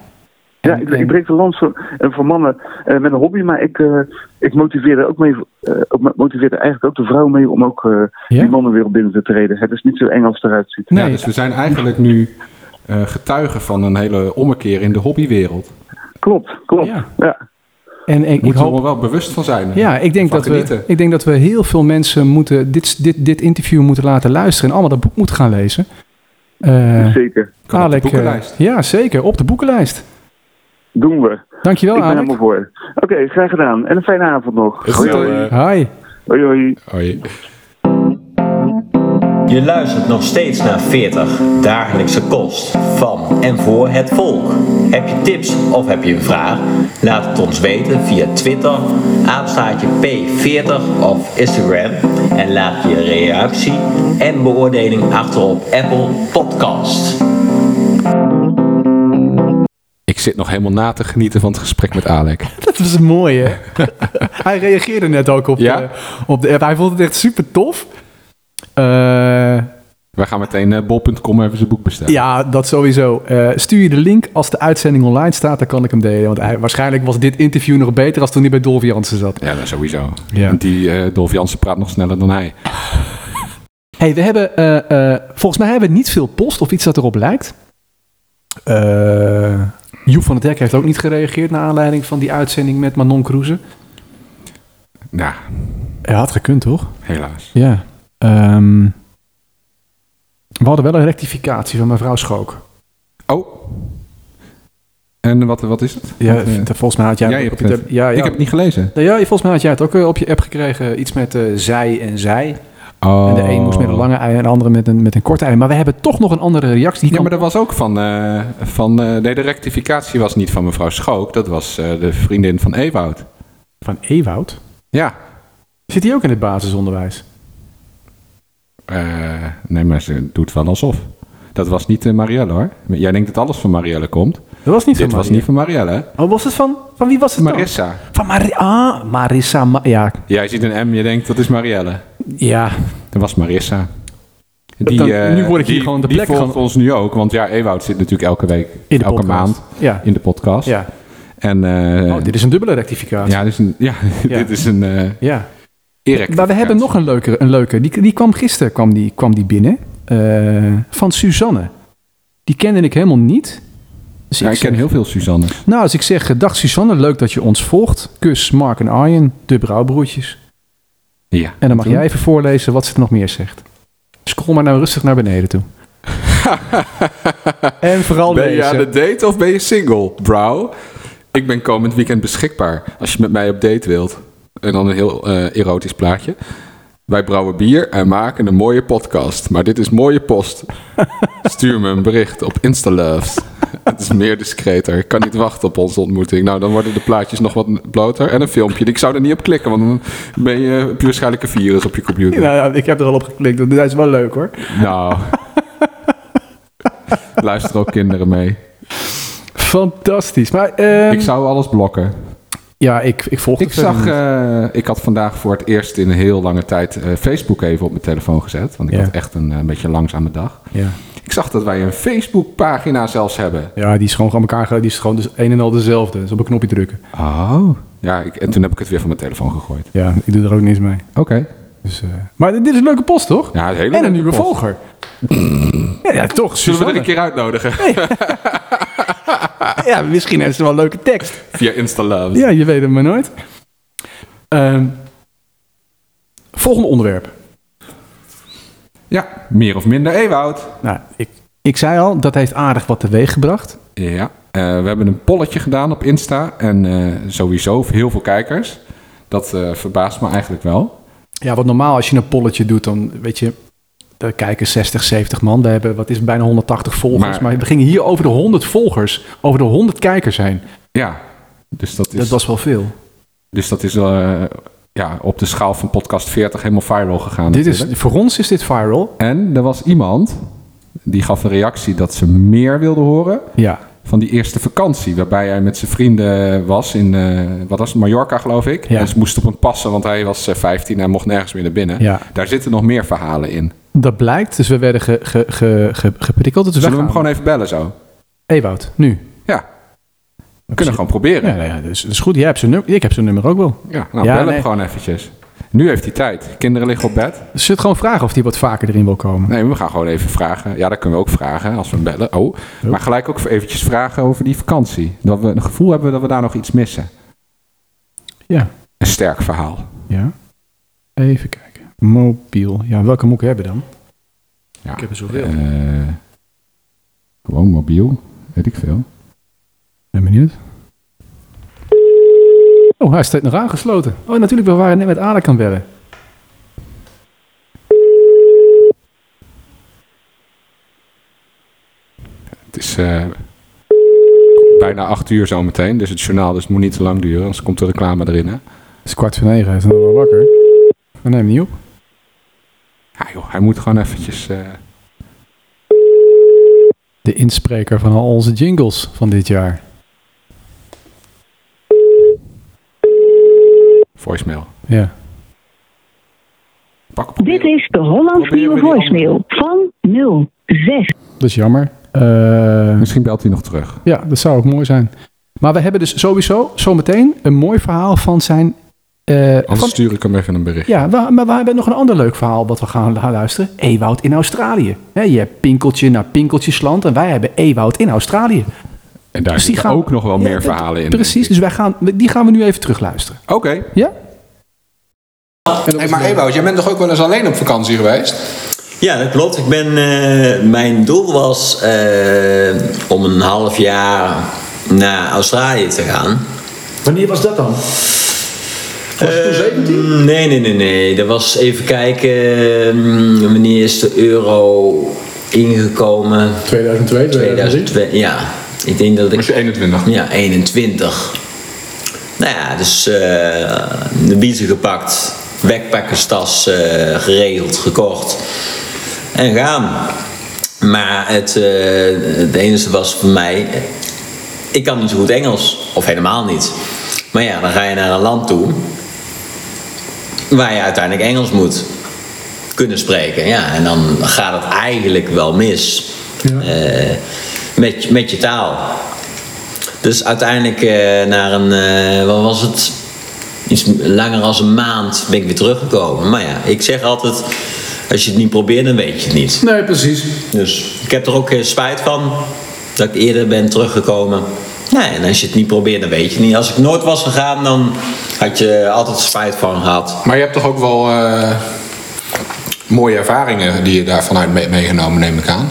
Speaker 5: Ja,
Speaker 2: En-
Speaker 5: ik,
Speaker 2: en-
Speaker 5: ik breek de lans voor, eh, voor mannen eh, met een hobby, maar ik, eh, ik motiveer er ook mee, eh, ook- motiveer er eigenlijk ook de vrouw mee om ook eh,
Speaker 2: Ja?
Speaker 5: die mannenwereld binnen te treden. Het is niet zo eng als het eruit ziet.
Speaker 2: Nee,
Speaker 3: Ja, dus we zijn eigenlijk nu eh getuigen van een hele ommekeer in de hobbywereld.
Speaker 5: Klopt, klopt.
Speaker 2: Ja.
Speaker 5: Ja.
Speaker 2: en ik, ik
Speaker 3: Moeten
Speaker 2: hoop
Speaker 3: we er wel bewust van zijn.
Speaker 2: Ja, ik denk,
Speaker 3: Van
Speaker 2: dat we,
Speaker 3: genieten.
Speaker 2: ik denk dat we heel veel mensen moeten dit, dit, dit interview moeten laten luisteren en allemaal dat boek moeten gaan lezen. Eh,
Speaker 5: zeker.
Speaker 3: Kan op de
Speaker 2: Alec, eh,
Speaker 3: boekenlijst.
Speaker 2: ja, zeker. Op de boekenlijst.
Speaker 5: Doen we.
Speaker 2: Dankjewel,
Speaker 5: ik ben
Speaker 2: Alec.
Speaker 5: helemaal voor. Oké, graag gedaan. En een fijne avond nog.
Speaker 3: Is
Speaker 5: Hoi,
Speaker 3: het,
Speaker 5: hoi.
Speaker 3: eh,
Speaker 2: Hoi.
Speaker 5: hoi, hoi.
Speaker 3: hoi.
Speaker 1: Je luistert nog steeds naar 40 dagelijkse kost van en voor het volk. Heb je tips of heb je een vraag? Laat het ons weten via Twitter, apenstaartje P40 of Instagram. En laat je reactie en beoordeling achter op Apple Podcast.
Speaker 3: Ik zit nog helemaal na te genieten van het gesprek met Alec.
Speaker 2: Dat was mooi, hè? hij reageerde net ook op,
Speaker 3: Ja?
Speaker 2: de, op de app. Hij vond het echt super tof. Eh,
Speaker 3: Wij gaan meteen eh, bol.com even zijn boek bestellen.
Speaker 2: ja, dat sowieso. Eh, stuur je de link als de uitzending online staat, dan kan ik hem delen. Want hij, waarschijnlijk was dit interview nog beter als toen hij bij Dolph Jansen zat.
Speaker 3: Ja, dat sowieso.
Speaker 2: Ja.
Speaker 3: Want die eh Dolf Jansen praat nog sneller dan hij.
Speaker 2: Hey, we hebben, eh, eh, volgens mij hebben we niet veel post of iets dat erop lijkt. Eh Joep van het Hek heeft ook niet gereageerd naar aanleiding van die uitzending met Manon Kroeze.
Speaker 3: Ja,
Speaker 2: Hij had gekund, toch?
Speaker 3: helaas.
Speaker 2: Ja. Ehm, we hadden wel een rectificatie van mevrouw Schook.
Speaker 3: Oh. En wat, wat is het?
Speaker 2: Ja,
Speaker 3: Wat, eh,
Speaker 2: volgens mij had jij,
Speaker 3: jij
Speaker 2: het
Speaker 3: hebt
Speaker 2: op je
Speaker 3: het.
Speaker 2: tab- ja, ja.
Speaker 3: Ik heb het niet gelezen.
Speaker 2: Nou ja, volgens mij had jij het ook eh, op je app gekregen. Iets met eh, zij en zij.
Speaker 3: Oh.
Speaker 2: En de een moest met een lange ei en de andere met een, met een korte ei. Maar we hebben toch nog een andere reactie. Die
Speaker 3: Ja,
Speaker 2: kan-
Speaker 3: maar dat was ook van... eh, van eh, nee, de rectificatie was niet van mevrouw Schook. Dat was eh, de vriendin van Ewoud.
Speaker 2: Van Ewoud.
Speaker 3: Ja.
Speaker 2: Zit die ook in het basisonderwijs?
Speaker 3: Eh, nee, maar ze doet wel alsof. Dat was niet eh, Marielle, hoor. Jij denkt dat alles van Marielle komt.
Speaker 2: Dat was niet
Speaker 3: Dit was niet van Marielle, hè?
Speaker 2: Oh, was het van? Van wie was het dan?
Speaker 3: Marissa.
Speaker 2: Van Mari ah, Marissa. Ma- ja,
Speaker 3: Jij ziet een M, je denkt dat is Marielle.
Speaker 2: ja.
Speaker 3: Dat was Marissa.
Speaker 2: Dan-
Speaker 3: eh,
Speaker 2: nu word ik hier
Speaker 3: die-
Speaker 2: gewoon de
Speaker 3: Die
Speaker 2: plek
Speaker 3: volgt
Speaker 2: gewoon-
Speaker 3: ons nu ook, want ja, Ewout zit natuurlijk elke week,
Speaker 2: In de
Speaker 3: elke
Speaker 2: podcast.
Speaker 3: maand
Speaker 2: Ja.
Speaker 3: in de podcast.
Speaker 2: ja.
Speaker 3: En, eh,
Speaker 2: Oh, dit is een dubbele rectificatie.
Speaker 3: ja, dit is een, ja,
Speaker 2: Ja.
Speaker 3: dit is een eh
Speaker 2: Ja.
Speaker 3: erect.
Speaker 2: Maar we hebben nog een leuke. Een leuke. Die, die kwam gisteren kwam die, kwam die binnen. eh, van Suzanne. Die kende ik helemaal niet. Dus
Speaker 3: Ja, ik
Speaker 2: zeg-
Speaker 3: ken heel veel Suzanne.
Speaker 2: Nou, als ik zeg, eh, dag Suzanne, leuk dat je ons volgt. Kus Mark en Arjen, de brouwbroertjes.
Speaker 3: Ja.
Speaker 2: En dan mag
Speaker 3: Toen?
Speaker 2: jij even voorlezen wat ze er nog meer zegt. Scroll maar nou rustig naar beneden toe. en vooral
Speaker 3: Ben je
Speaker 2: lezen.
Speaker 3: aan de date of ben je single, bro? Ik ben komend weekend beschikbaar. Als je met mij op date wilt. En dan een heel eh, erotisch plaatje. Wij brouwen bier en maken een mooie podcast. Maar dit is mooie post. Stuur me een bericht op Instaloves. Het is meer discreter. Ik kan niet wachten op onze ontmoeting. Nou, dan worden de plaatjes nog wat bloter. En een filmpje. Ik zou er niet op klikken, want dan ben je, heb je waarschijnlijk een virus op je computer.
Speaker 2: Nou, ja, ik heb er al op geklikt, want dat is wel leuk hoor.
Speaker 3: Nou. Luister ook kinderen mee.
Speaker 2: Fantastisch. Maar ehm,
Speaker 3: Ik zou alles blokken.
Speaker 2: ja, ik, ik volg
Speaker 3: Ik
Speaker 2: het verder
Speaker 3: zag,
Speaker 2: niet.
Speaker 3: eh, ik had vandaag voor het eerst in een heel lange tijd eh, Facebook even op mijn telefoon gezet. Want ik
Speaker 2: Ja.
Speaker 3: had echt een eh, beetje langzame dag.
Speaker 2: ja.
Speaker 3: Ik zag dat wij een Facebookpagina zelfs hebben.
Speaker 2: ja, die is gewoon aan elkaar ge- Die is gewoon dus een en al dezelfde. Dus op een knopje drukken.
Speaker 3: Oh. Ja, ik, en toen heb ik het weer van mijn telefoon gegooid.
Speaker 2: Ja, ik doe er ook niks mee.
Speaker 3: Oké.
Speaker 2: Dus, eh, maar dit is een leuke post, toch?
Speaker 3: Ja, het hele
Speaker 2: en
Speaker 3: leuke
Speaker 2: een nieuwe
Speaker 3: post.
Speaker 2: volger. Ja, ja, toch.
Speaker 3: Zullen we er
Speaker 2: Suzanne.
Speaker 3: een keer uitnodigen?
Speaker 2: Ja, misschien heeft ze wel een leuke tekst.
Speaker 3: Via Insta
Speaker 2: Ja, je weet het maar nooit. Ehm, volgende onderwerp.
Speaker 3: ja, meer of minder Ewoud.
Speaker 2: Nou, ik, ik zei al, dat heeft aardig wat teweeg gebracht.
Speaker 3: Ja, eh, we hebben een polletje gedaan op Insta. En eh, sowieso heel veel kijkers. Dat eh, verbaast me eigenlijk wel.
Speaker 2: Ja, wat normaal als je een polletje doet, dan weet je... Daar kijken 60, 70 man. We hebben, wat is het, bijna 180 volgers. Maar,
Speaker 3: Maar-
Speaker 2: we gingen hier over de 100 volgers. Over de 100 kijkers heen.
Speaker 3: Ja, dus dat is...
Speaker 2: Dat was wel veel.
Speaker 3: Dus dat is eh, ja, op de schaal van podcast 40 helemaal viral gegaan.
Speaker 2: Dit is,
Speaker 3: natuurlijk.
Speaker 2: voor ons is dit viral.
Speaker 3: En er was iemand die gaf een reactie dat ze meer wilde horen
Speaker 2: Ja,
Speaker 3: van die eerste vakantie. Waarbij hij met zijn vrienden was in, eh, wat was het, Mallorca geloof ik.
Speaker 2: Ja.
Speaker 3: En ze moesten op hem passen, want hij was eh, 15 en mocht nergens meer naar binnen.
Speaker 2: Ja.
Speaker 3: Daar zitten nog meer verhalen in.
Speaker 2: dat blijkt. Dus we werden ge, ge, ge, ge- geprikkeld. Dus
Speaker 3: Zullen we hem gewoon even bellen zo?
Speaker 2: Ewoud, nu.
Speaker 3: Ja. We kunnen gewoon proberen.
Speaker 2: Ja,
Speaker 3: Ja,
Speaker 2: nou ja, dat, is, dat is goed. Jij hebt zijn nummer. Ik heb zijn nummer ook wel.
Speaker 3: nou,
Speaker 2: Ja,
Speaker 3: bel
Speaker 2: nee.
Speaker 3: hem gewoon eventjes. Nu heeft hij tijd. Kinderen liggen op bed.
Speaker 2: Dus zit gewoon vragen of hij wat vaker erin wil komen.
Speaker 3: Nee, we gaan gewoon even vragen. Ja, dat kunnen we ook vragen als we hem bellen. Oh, maar gelijk ook eventjes vragen over die vakantie. Dat we een gevoel hebben dat we daar nog iets missen.
Speaker 2: Ja.
Speaker 3: Een sterk verhaal.
Speaker 2: ja. Even kijken. Mobiel. Ja, welke moet ik hebben dan?
Speaker 3: Ja.
Speaker 2: er zoveel.
Speaker 3: Eh, gewoon mobiel, weet ik veel.
Speaker 2: Ben benieuwd. Oh, hij staat nog aangesloten. Oh, natuurlijk, we waren net met Ada kan bellen.
Speaker 3: Het is eh, bijna acht uur zometeen, dus het journaal dus het moet niet te lang duren, anders komt de reclame erin. Hè?
Speaker 2: Het is kwart voor negen, hij is nog wel wakker. We nemen niet op.
Speaker 3: Ja, joh, hij moet gewoon eventjes... eh,
Speaker 2: De inspreker van al onze jingles van dit jaar.
Speaker 3: voicemail.
Speaker 2: Ja.
Speaker 3: Pak op.
Speaker 6: Dit is de Hollands
Speaker 3: Probeer
Speaker 6: Nieuwe
Speaker 3: weer die
Speaker 6: Voicemail van 06.
Speaker 2: Dat is jammer. Eh,
Speaker 3: Misschien belt hij nog terug.
Speaker 2: Ja, dat zou ook mooi zijn. Maar we hebben dus sowieso zometeen een mooi verhaal van zijn. eh,
Speaker 3: Anders
Speaker 2: van,
Speaker 3: stuur ik hem even een bericht.
Speaker 2: ja, we- maar we hebben nog een ander leuk verhaal wat we gaan lu- luisteren. Ewoud in Australië. Hè, je hebt pinkeltje naar pinkeltjesland en wij hebben Ewoud in Australië.
Speaker 3: En daar
Speaker 2: Dus die
Speaker 3: zitten
Speaker 2: gaan-
Speaker 3: ook nog wel
Speaker 2: Ja,
Speaker 3: meer
Speaker 2: dat-
Speaker 3: verhalen in. denk
Speaker 2: Precies,
Speaker 3: ik.
Speaker 2: dus wij gaan, die gaan we nu even terugluisteren.
Speaker 3: Oké.
Speaker 2: Ja?
Speaker 3: Hey, maar Ewout, jij bent toch ook wel eens alleen op vakantie geweest?
Speaker 1: Ja, dat klopt. Ik ben, eh, mijn doel was eh, om een half jaar naar Australië te gaan.
Speaker 2: Wanneer was dat dan?
Speaker 1: Mm, Nee, nee, nee, nee. Dat was even kijken. mm, Wanneer is de euro ingekomen?
Speaker 2: 2002,
Speaker 1: 2002. Ja, ik denk dat ik.
Speaker 3: je 21.
Speaker 1: Ja, 21. Nou ja, dus eh, de biezen gepakt, backpackerstas eh, geregeld, gekocht en gaan. Maar het, eh, het enige was voor mij, ik kan niet zo goed Engels, of helemaal niet. Maar ja, dan ga je naar een land toe waar je uiteindelijk Engels moet kunnen spreken. Ja, en dan gaat het eigenlijk wel mis Eh, met, met je taal. Dus uiteindelijk eh, na een, eh, wat was het, iets langer als een maand ben ik weer teruggekomen. Maar ja, ik zeg altijd, als je het niet probeert, dan weet je het niet.
Speaker 3: Nee, precies.
Speaker 1: Dus ik heb er ook geen spijt van dat ik eerder ben teruggekomen. Ja, en als je het niet probeert, dan weet je het niet. Als ik nooit was gegaan, dan had je altijd spijt van gehad.
Speaker 3: Maar je hebt toch ook wel eh, mooie ervaringen die je daar vanuit mee- meegenomen, neem ik aan.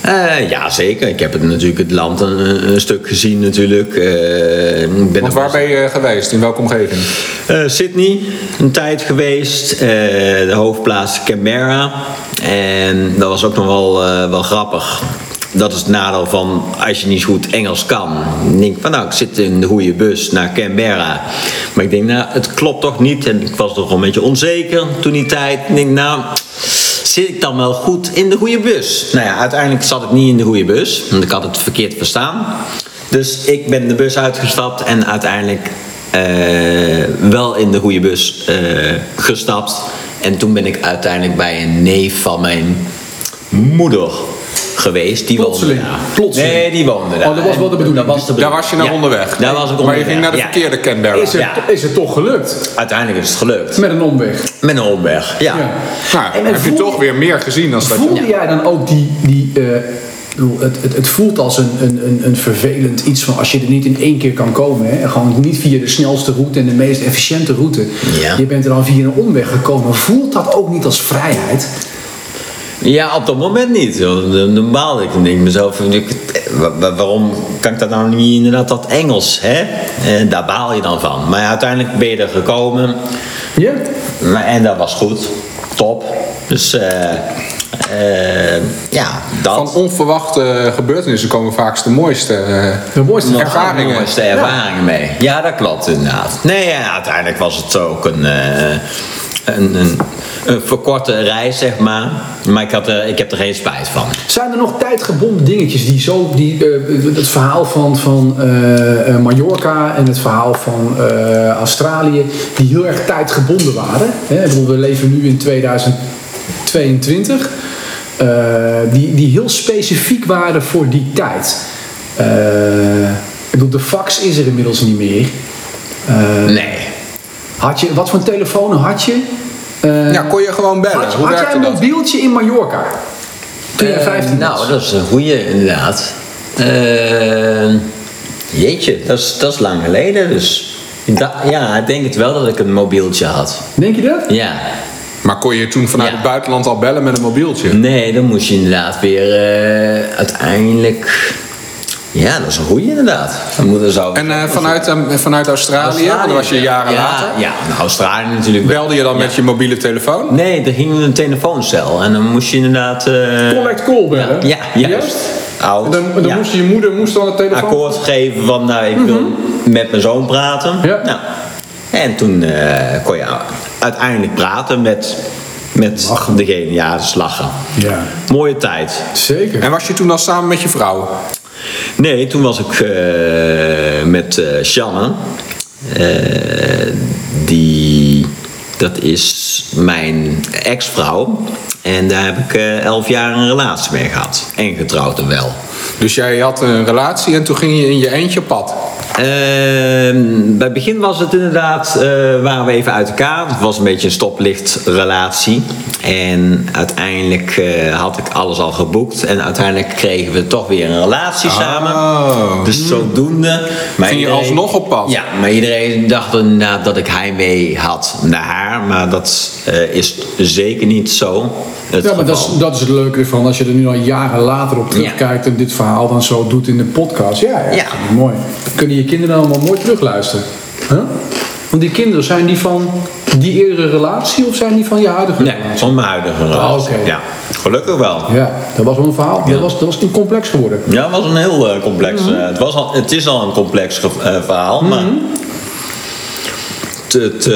Speaker 1: Eh, ja, zeker. Ik heb het, natuurlijk het land een, een stuk gezien natuurlijk. Eh, ik ben nog
Speaker 3: Want waar
Speaker 1: wel
Speaker 3: ben je geweest? In welke omgeving?
Speaker 1: Eh, Sydney, een tijd geweest. eh, de hoofdplaats Canberra. En dat was ook nog wel, eh, wel grappig. Dat is het nadeel van als je niet zo goed Engels kan. Ik denk van nou, ik zit in de goede bus naar Canberra. Maar ik denk nou, het klopt toch niet. En ik was toch een beetje onzeker toen die tijd. Ik denk nou, zit ik dan wel goed in de goede bus? Nou ja, uiteindelijk zat ik niet in de goede bus. Want ik had het verkeerd verstaan. Dus ik ben de bus uitgestapt en uiteindelijk eh, wel in de goede bus eh, gestapt. En toen ben ik uiteindelijk bij een neef van mijn moeder geweest. Die
Speaker 3: Plotseling,
Speaker 1: woonde daar.
Speaker 3: plotseling.
Speaker 1: Nee, die woonde daar.
Speaker 3: Oh, dat was wel de bedoeling.
Speaker 1: Dat was de
Speaker 3: Daar
Speaker 1: bedoeling.
Speaker 3: was je naar
Speaker 1: Ja,
Speaker 3: onderweg.
Speaker 1: Daar was ik onderweg.
Speaker 3: Maar je ging naar de
Speaker 1: ja.
Speaker 3: verkeerde Canberra.
Speaker 1: Is het- Ja.
Speaker 3: is het toch gelukt?
Speaker 1: Uiteindelijk is het gelukt.
Speaker 3: Met een omweg.
Speaker 1: Met een omweg, ja.
Speaker 3: Nou, En
Speaker 7: dan
Speaker 3: heb je
Speaker 7: voel
Speaker 3: toch weer meer gezien dan dat je...
Speaker 2: Voelde jij dan ook die. die eh, ik bedoel, het, het, het voelt als een, een, een, een vervelend iets van als je er niet in één keer kan komen. Hè? En Gewoon niet via de snelste route en de meest efficiënte route.
Speaker 1: Ja.
Speaker 2: Je bent er dan via een omweg gekomen. Voelt dat ook niet als vrijheid?
Speaker 1: Ja, op dat moment niet. Dan, dan- dan baalde ik en denk ik mezelf, ik- eh, wa- wa- waarom kan ik dat nou niet inderdaad dat Engels, hè? En daar baal je dan van. Maar ja, uiteindelijk ben je er gekomen
Speaker 2: Ja.
Speaker 1: Maar- en dat was goed. Top. Dus eh, eh, ja, dat.
Speaker 3: Van onverwachte gebeurtenissen komen vaak de mooiste... eh,
Speaker 2: De mooiste
Speaker 1: Nog
Speaker 3: ervaringen.
Speaker 1: de mooiste ervaringen mee. Ja, dat klopt inderdaad. Nee, ja, uiteindelijk was het ook een, eh, een, een, een verkorte reis, zeg maar. Maar ik, had er, ik heb er geen spijt van.
Speaker 2: Zijn er nog tijdgebonden dingetjes die zo. Die, eh, het verhaal van, van eh, eh, Mallorca en het verhaal van eh, Australië, die heel erg tijdgebonden waren. Hè? Ik bedoel, we leven nu in 2022. eh, die, die heel specifiek waren voor die tijd. Eh, ik bedoel, de fax is er inmiddels niet meer. Eh,
Speaker 1: Nee.
Speaker 2: had je, wat voor telefoon had je? Eh,
Speaker 3: ja, kon je gewoon bellen.
Speaker 2: had,
Speaker 3: Hoe
Speaker 2: had jij
Speaker 3: werkte
Speaker 2: een
Speaker 3: dat?
Speaker 2: mobieltje in Mallorca? Toen je
Speaker 1: Eh,
Speaker 2: 15 was?
Speaker 1: Nou, dat is een goede inderdaad. Eh, jeetje, dat is, dat is lang geleden. Dus Da- ja, ik denk het wel dat ik een mobieltje had.
Speaker 2: Denk je dat?
Speaker 1: Ja.
Speaker 3: Maar kon je toen vanuit
Speaker 1: Ja.
Speaker 3: het buitenland al bellen met een mobieltje?
Speaker 1: Nee, dan moest je inderdaad weer eh, uiteindelijk. Ja, dat is een goede inderdaad. Dan moet er zo.
Speaker 3: En eh, vanuit, eh, vanuit Australië, want dat was je jaren
Speaker 1: ja,
Speaker 3: later,
Speaker 1: Ja, nou, Australië natuurlijk wel.
Speaker 3: belde je dan met je mobiele telefoon?
Speaker 1: Nee, er ging een telefooncel en dan moest je inderdaad. eh,
Speaker 3: Collect call bellen?
Speaker 1: ja, juist. Oud. ja.
Speaker 3: je moeder moest dan de
Speaker 1: akkoord gegeven van nou, ik wil met mijn zoon praten.
Speaker 3: Mhm. Ja.
Speaker 1: Nou, en toen eh, kon je uiteindelijk praten met, met degene. Ja, dus lachen.
Speaker 2: Ja.
Speaker 1: Mooie tijd.
Speaker 2: Zeker.
Speaker 3: En was je toen al samen met je vrouw?
Speaker 1: Nee, toen was ik eh, met eh Shanna. Eh, die, dat is mijn ex-vrouw. En daar heb ik eh, elf jaar een relatie mee gehad. En getrouwd en wel.
Speaker 3: Dus jij had een relatie en toen ging je in je eentje op pad.
Speaker 1: Ehm, bij het begin was het inderdaad, eh, waren we even uit elkaar. Het was een beetje een stoplichtrelatie. En uiteindelijk eh, had ik alles al geboekt. En uiteindelijk kregen we toch weer een relatie samen. Dus zodoende. Maar
Speaker 3: Ah. Mhm. Ging je alsnog op pad?
Speaker 1: Ja, maar iedereen dacht inderdaad dat ik heimwee had naar haar. Maar dat eh, is zeker niet zo. het
Speaker 3: Ja, maar
Speaker 1: geval.
Speaker 2: Dat is, dat is het leuke van als je er nu al jaren later op terugkijkt en dit verhaal dan zo doet in de podcast. Ja, ja,
Speaker 1: Ja.
Speaker 2: mooi. Kunnen je kinderen allemaal mooi terugluisteren? Huh? Want die kinderen, zijn die van die eerdere relatie of zijn die van je huidige
Speaker 1: Nee,
Speaker 2: relatie?
Speaker 1: van mijn huidige relatie.
Speaker 2: oké.
Speaker 1: Ja, gelukkig wel.
Speaker 2: Ja, dat was wel een verhaal. Dat, was, dat was toen complex geworden.
Speaker 1: Ja, het was een heel eh, complex.
Speaker 2: Mhm.
Speaker 1: eh, het, was al, het is al een complex ge- eh, verhaal, maar. Het, het, eh,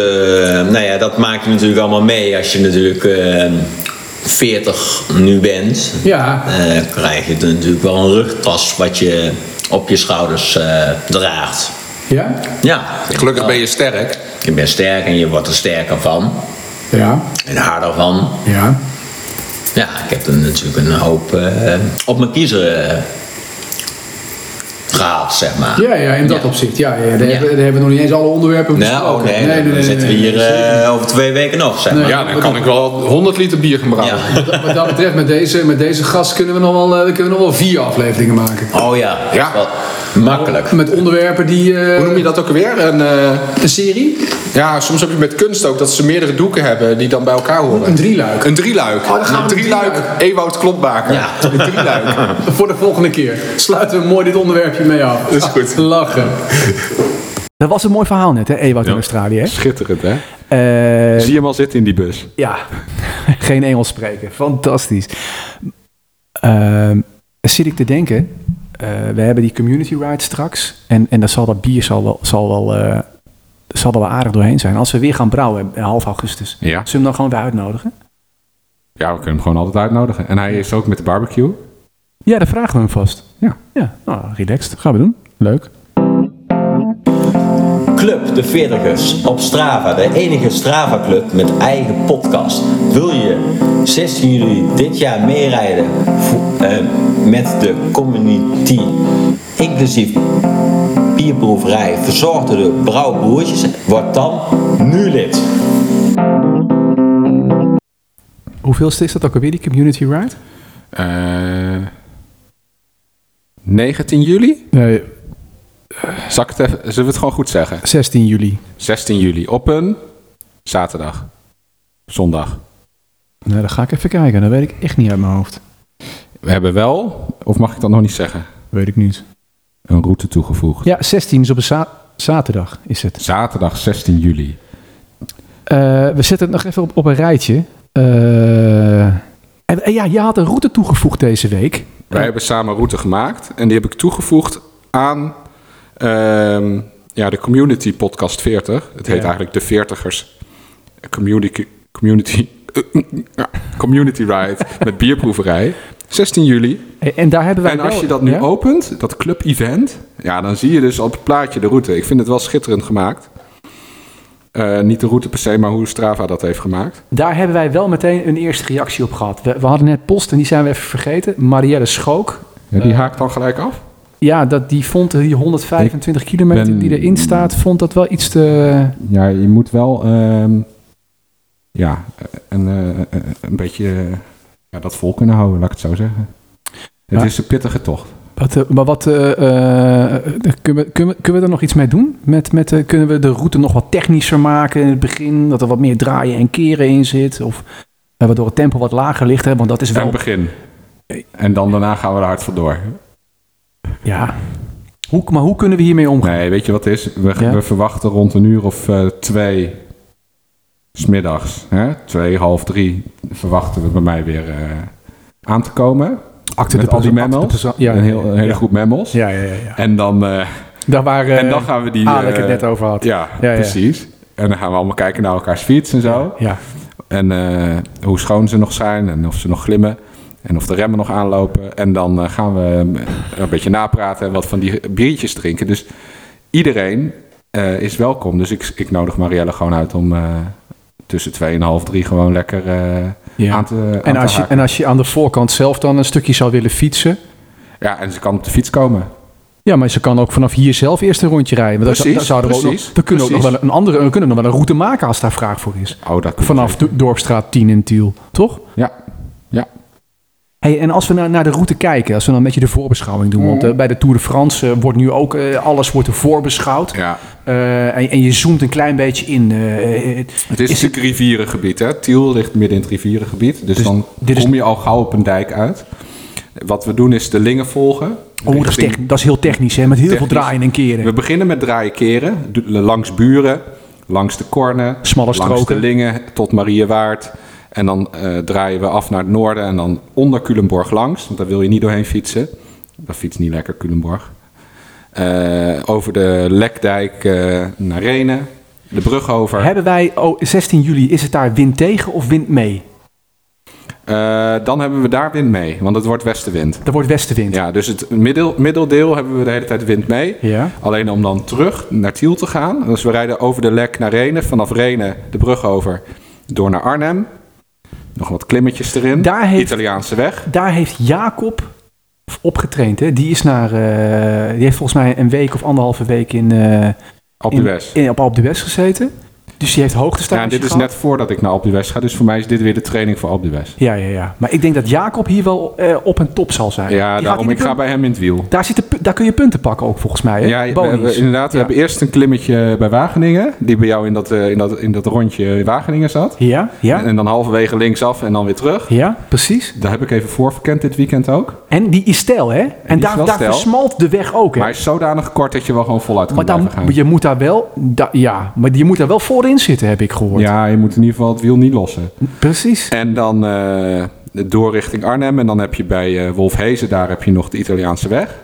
Speaker 1: nou ja, dat maak je natuurlijk allemaal mee als je natuurlijk eh, 40 nu bent.
Speaker 2: Ja.
Speaker 1: Eh, krijg je natuurlijk wel een rugtas wat je op je schouders eh, draagt.
Speaker 2: Ja?
Speaker 1: Ja,
Speaker 3: Gelukkig ben je sterk.
Speaker 1: je bent sterk en je wordt er sterker van.
Speaker 2: Ja.
Speaker 1: En harder van.
Speaker 2: Ja.
Speaker 1: Ja, ik heb er natuurlijk een hoop eh, op mijn kiezer eh, verhaal, zeg maar.
Speaker 8: Ja, ja, in dat
Speaker 1: Ja.
Speaker 8: opzicht. Ja, ja, daar,
Speaker 1: Ja.
Speaker 8: Hebben, daar hebben we nog niet eens alle onderwerpen
Speaker 1: Nou, oh
Speaker 8: besproken.
Speaker 1: nee, dan zitten we hier
Speaker 8: zeker.
Speaker 1: eh, over twee weken nog, zeg maar.
Speaker 9: Ja, dan kan ik wel 100 liter bier gaan brouwen. Ja.
Speaker 8: Wat- Wat dat betreft, met deze, met deze gast kunnen we, nog wel, eh, kunnen we nog wel vier afleveringen maken.
Speaker 1: Oh ja, dat is
Speaker 9: Ja.
Speaker 1: wel makkelijk.
Speaker 8: Met onderwerpen die... eh,
Speaker 9: Hoe noem je dat ook weer? Een, eh,
Speaker 8: Een serie?
Speaker 9: ja, soms heb je met kunst ook dat ze meerdere doeken hebben die dan bij elkaar horen.
Speaker 8: Een drieluik. Oh,
Speaker 9: Een drieluik.
Speaker 8: dan gaan we
Speaker 9: een
Speaker 8: een
Speaker 9: drieluik
Speaker 8: drieluik.
Speaker 9: Ewout Klopbaker.
Speaker 1: Ja.
Speaker 9: Een drieluik.
Speaker 8: Voor de volgende keer. Sluiten we mooi dit onderwerpje mee af.
Speaker 9: Dat is goed.
Speaker 8: Lachen.
Speaker 2: Dat was een mooi verhaal net, hè, Ewout in
Speaker 3: Ja.
Speaker 2: Australië. Hè?
Speaker 3: Schitterend, hè?
Speaker 2: Eh,
Speaker 3: Zie hem al zitten in die bus.
Speaker 2: Ja, geen Engels spreken. Fantastisch. Ehm, zit ik te denken, eh, we hebben die community ride straks. En, en daar zal dat bier zal wel, zal, wel, eh, zal er wel aardig doorheen zijn. Als we weer gaan brouwen eh, half augustus.
Speaker 3: Ja.
Speaker 2: Zullen we hem dan gewoon weer uitnodigen?
Speaker 3: Ja, we kunnen hem gewoon altijd uitnodigen. En hij is ook met de barbecue.
Speaker 2: Ja, dan vragen we hem vast.
Speaker 3: Ja.
Speaker 2: Ja, nou, relaxed. Gaan we doen. Leuk.
Speaker 1: Club de 40ers op Strava, de enige Strava club met eigen podcast. Wil je 16 juli dit jaar meerijden vo- eh, met de community, inclusief bierproeverij, verzorgd door de brouwbroertjes? Word dan nu lid.
Speaker 2: Hoeveelste is dat ook alweer, die community ride?
Speaker 3: Eh, 19 juli?
Speaker 2: Nee,
Speaker 3: Zal ik het even, zullen we het gewoon goed zeggen?
Speaker 2: 16 juli.
Speaker 3: 16 juli op een zaterdag. Zondag.
Speaker 2: Nou, dan ga ik even kijken. Dat weet ik echt niet uit mijn hoofd.
Speaker 3: We hebben wel, of mag ik dat nog niet zeggen,
Speaker 2: Weet ik niet.
Speaker 3: een route toegevoegd.
Speaker 2: Ja, 16 is op een za- zaterdag, is het.
Speaker 3: Zaterdag 16 juli.
Speaker 2: Eh, we zetten het nog even op, op een rijtje. Eh, en, en ja, je had een route toegevoegd deze week.
Speaker 3: Wij hebben samen een route gemaakt en die heb ik toegevoegd aan ehm, ja, de Community Podcast 40. Het heet eigenlijk de 40ers Community, community, eh, ja, community Ride met bierproeverij. 16 juli.
Speaker 2: En, en daar hebben wij
Speaker 3: En als
Speaker 2: wel-
Speaker 3: je dat nu
Speaker 2: ja?
Speaker 3: opent, dat club-event, ja, dan zie je dus op het plaatje de route. Ik vind het wel schitterend gemaakt. Eh, niet de route per se, maar hoe Strava dat heeft gemaakt.
Speaker 2: Daar hebben wij wel meteen een eerste reactie op gehad. We, we hadden net post en die zijn we even vergeten. Marielle Schook.
Speaker 3: Ja, die haakt Eh, dan gelijk af.
Speaker 2: Ja, dat, die vond die 125 kilometer
Speaker 3: ben-
Speaker 2: die erin staat, vond dat wel iets te...
Speaker 3: Ja, je moet wel ehm, ja, een, eh, een beetje eh, ja, dat vol kunnen houden, laat ik het zo zeggen. Het
Speaker 2: Ja.
Speaker 3: is een pittige tocht.
Speaker 2: Wat, eh, maar wat, eh, eh, eh, kunnen, we, kunnen, we, kunnen we er nog iets mee doen? Met, met, eh, kunnen we de route nog wat technischer maken in het begin? Dat er wat meer draaien en keren in zit? Of eh, waardoor het tempo wat lager ligt? Hè? Want dat is
Speaker 3: Aan
Speaker 2: wel...
Speaker 3: het begin. En dan daarna gaan we er hard vandoor.
Speaker 2: Ja. Hoe, maar hoe kunnen we hiermee omgaan?
Speaker 3: Nee, weet je wat het is? We,
Speaker 2: Ja.
Speaker 3: we verwachten rond een uur of eh, twee, smiddags, hè? twee, half drie, verwachten we bij mij weer eh, aan te komen.
Speaker 2: Acte
Speaker 3: Met
Speaker 2: de
Speaker 3: al die
Speaker 2: persoon-
Speaker 3: mammals.
Speaker 2: acte de persoon- ja,
Speaker 3: een, heel, een hele
Speaker 2: ja.
Speaker 3: groep mammals.
Speaker 2: Ja, ja, ja. ja.
Speaker 3: En dan... eh,
Speaker 2: Daar waar eh
Speaker 3: en dan gaan we die.
Speaker 2: Alec het
Speaker 3: eh,
Speaker 2: net over had.
Speaker 3: Ja,
Speaker 2: Ja, ja.
Speaker 3: precies. En dan gaan we allemaal kijken naar elkaars fiets en zo.
Speaker 2: Ja.
Speaker 3: En eh, hoe schoon ze nog zijn en of ze nog glimmen. En of de remmen nog aanlopen. En dan eh, gaan we eh, een beetje napraten en wat van die biertjes drinken. Dus iedereen eh, is welkom. Dus ik, ik nodig Marielle gewoon uit om eh, tussen twee en half drie gewoon lekker eh,
Speaker 2: Ja.
Speaker 3: aan te aan
Speaker 2: En,
Speaker 3: te
Speaker 2: als je,
Speaker 3: haken.
Speaker 2: en als je aan de voorkant zelf dan een stukje zou willen fietsen...
Speaker 3: Ja, en ze kan op de fiets komen.
Speaker 2: Ja, maar ze kan ook vanaf hier zelf eerst een rondje rijden. Want dan-
Speaker 3: Precies,
Speaker 2: dan zouden we, ook nog-
Speaker 3: precies,
Speaker 2: we kunnen ook nog
Speaker 3: precies.
Speaker 2: wel een andere, we kunnen nog wel een route maken als daar vraag voor is.
Speaker 3: Oh, dat kan
Speaker 2: Vanaf
Speaker 3: zeker.
Speaker 2: Do- Dorpstraat 10 in Tiel, toch?
Speaker 3: Ja, ja.
Speaker 2: Hey, en als we naar, naar de route kijken, als we dan een beetje de voorbeschouwing doen.
Speaker 3: Mm.
Speaker 2: Want eh, bij de Tour de France eh, wordt nu ook eh, alles wordt er voorbeschouwd.
Speaker 3: ja.
Speaker 2: Eh, en, en je zoomt een klein beetje in. eh, eh,
Speaker 3: Het is,
Speaker 2: Is het-
Speaker 3: natuurlijk rivierengebied, hè? Tiel ligt midden in het rivierengebied. Dus,
Speaker 2: Dus
Speaker 3: dan
Speaker 2: dit is-
Speaker 3: kom je al gauw op een dijk uit. Wat we doen is de lingen volgen.
Speaker 2: oh, dat, is
Speaker 3: Richting-
Speaker 2: tech- dat is heel technisch, hè? Met heel veel
Speaker 3: Technisch.
Speaker 2: draaien en keren.
Speaker 3: We beginnen met draaien keren. Du- Langs Buren, langs de Kornen,
Speaker 2: Smalle
Speaker 3: langs de
Speaker 2: stroken.
Speaker 3: Lingen tot Mariewaard. En dan eh, draaien we af naar het noorden en dan onder Culemborg langs. Want daar wil je niet doorheen fietsen. Dat fietst niet lekker, Culemborg. Eh, over de Lekdijk eh, naar Renen, de brug over.
Speaker 2: Hebben wij, oh, 16 juli, is het daar wind tegen of wind mee?
Speaker 3: Eh, dan hebben we daar wind mee, want het wordt westenwind.
Speaker 2: Dat wordt westenwind.
Speaker 3: Ja, dus het middel, middeldeel hebben we de hele tijd wind mee.
Speaker 2: Ja.
Speaker 3: Alleen om dan terug naar Tiel te gaan. Dus we rijden over de Lek naar Renen, vanaf Renen de brug over, door naar Arnhem. Nog wat klimmetjes erin.
Speaker 2: Daar heeft-
Speaker 3: Italiaanse weg.
Speaker 2: Daar heeft Jacob opgetraind. Hè? Die, is naar, eh, die heeft volgens mij een week of anderhalve week in, eh,
Speaker 3: Op de
Speaker 2: in,
Speaker 3: West.
Speaker 2: in- op Alpe d'Huez gezeten. Dus die heeft hoogtestages
Speaker 3: Ja, dit is
Speaker 2: gehad.
Speaker 3: net voordat ik naar Alpe d'Huez ga, dus voor mij is dit weer de training voor Alpe d'Huez.
Speaker 2: Ja, ja, ja. Maar ik denk dat Jacob hier wel eh, op en top zal zijn. Die
Speaker 3: Ja,
Speaker 2: gaat
Speaker 3: daarom,
Speaker 2: in de
Speaker 3: ik ga
Speaker 2: pun-
Speaker 3: bij hem in het wiel.
Speaker 2: daar, zitten pu- daar kun je punten pakken ook volgens mij. Hè?
Speaker 3: Ja, we
Speaker 2: Bonies.
Speaker 3: hebben, inderdaad. We
Speaker 2: Ja.
Speaker 3: hebben eerst een klimmetje bij Wageningen, die bij jou in dat, eh, in dat, in dat rondje Wageningen zat.
Speaker 2: Ja,
Speaker 3: En,
Speaker 2: ja,
Speaker 3: en dan halverwege linksaf en dan weer terug.
Speaker 2: ja, precies.
Speaker 3: Daar heb ik even voor verkend dit weekend ook.
Speaker 2: En die is stijl, hè? En,
Speaker 3: is
Speaker 2: daar,
Speaker 3: wel
Speaker 2: daar
Speaker 3: steil.
Speaker 2: versmalt de weg ook, hè?
Speaker 3: Maar hij is zodanig kort dat je wel gewoon voluit kan
Speaker 2: Maar dan,
Speaker 3: blijven gaan.
Speaker 2: je moet daar wel, da- ja, maar je moet daar wel voorin zitten, heb ik gehoord.
Speaker 3: Ja, je moet in ieder geval het wiel niet lossen.
Speaker 2: Precies.
Speaker 3: En dan eh, door richting Arnhem. En dan heb je bij eh, Wolfhezen, daar heb je nog de Italiaanse weg.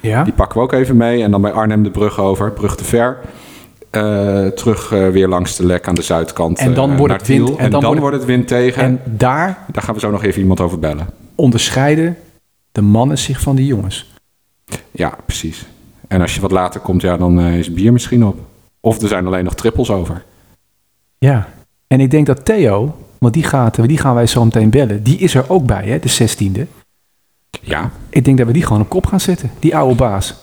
Speaker 2: Ja,
Speaker 3: Die pakken we ook even mee. En dan bij Arnhem de brug over, brug te ver. Eh, terug eh, weer langs de lek aan de zuidkant.
Speaker 2: En dan
Speaker 3: eh,
Speaker 2: wordt
Speaker 3: naar
Speaker 2: het wind-
Speaker 3: Tiel.
Speaker 2: en
Speaker 3: En,
Speaker 2: dan
Speaker 3: dan,
Speaker 2: wordt-
Speaker 3: wordt het wind tegen.
Speaker 2: en daar
Speaker 3: Daar gaan we zo nog even iemand over bellen.
Speaker 2: onderscheiden de mannen zich van die jongens.
Speaker 3: Ja, precies. En als je wat later komt, ja, dan eh, is bier misschien op. Of er zijn alleen nog trippels over.
Speaker 2: Ja. En ik denk dat Theo, want die, gaat, die gaan wij zo meteen bellen, die is er ook bij, hè, de 16e.
Speaker 3: Ja,
Speaker 2: Ik denk dat we die gewoon op kop gaan zetten, die oude baas.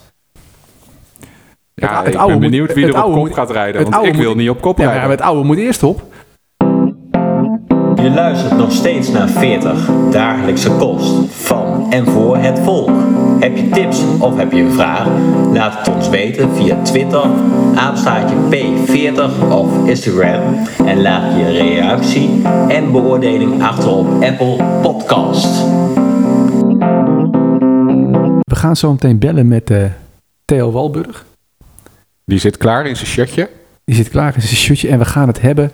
Speaker 3: ja
Speaker 2: het
Speaker 3: ik
Speaker 2: oude
Speaker 3: ben
Speaker 2: moet-
Speaker 3: benieuwd wie
Speaker 2: het
Speaker 3: er op
Speaker 2: oude
Speaker 3: kop
Speaker 2: moet-
Speaker 3: gaat rijden.
Speaker 2: het
Speaker 3: Want
Speaker 2: oude
Speaker 3: ik wil
Speaker 2: moet-
Speaker 3: niet op kop
Speaker 2: Ja, maar
Speaker 3: rijden.
Speaker 2: ja, maar het oude moet eerst op.
Speaker 1: Je luistert nog steeds naar 40 dagelijkse kost van en voor het volk. Heb je tips of heb je een vraag? Laat het ons weten via Twitter, aanstaatje P40 of Instagram. En laat je reactie en beoordeling achter op Apple Podcast.
Speaker 2: We gaan zo meteen bellen met eh, Theo Walburg.
Speaker 3: Die zit klaar in zijn shirtje.
Speaker 2: Die zit klaar in zijn shirtje en we gaan het hebben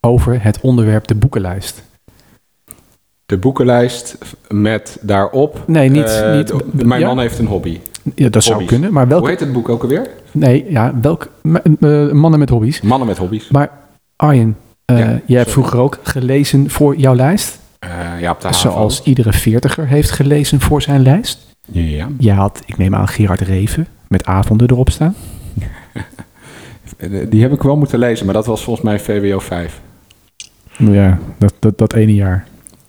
Speaker 2: over het onderwerp de boekenlijst.
Speaker 3: De boekenlijst met daarop.
Speaker 2: Nee, niet-
Speaker 3: eh,
Speaker 2: niet-
Speaker 3: de- mijn
Speaker 2: ja?
Speaker 3: man heeft een hobby.
Speaker 2: Ja, dat zou
Speaker 3: Hobby's.
Speaker 2: kunnen, maar welke...
Speaker 3: Hoe heet het boek ook alweer?
Speaker 2: Nee, ja, welk, m- m- mannen met hobby's.
Speaker 3: Mannen met hobby's.
Speaker 2: Maar Arjen, eh,
Speaker 3: Ja,
Speaker 2: jij
Speaker 3: sorry.
Speaker 2: hebt vroeger ook gelezen voor jouw lijst.
Speaker 3: Eh, ja, op de
Speaker 2: Ah,
Speaker 3: HAVO.
Speaker 2: Zoals iedere veertiger heeft gelezen voor zijn lijst.
Speaker 3: Ja,
Speaker 2: Jij had, ik neem aan, Gerard Reven met avonden erop staan.
Speaker 3: Eh, die heb ik wel moeten lezen, maar dat was volgens mij VWO 5.
Speaker 2: Nou Ja, dat, dat, dat ene jaar.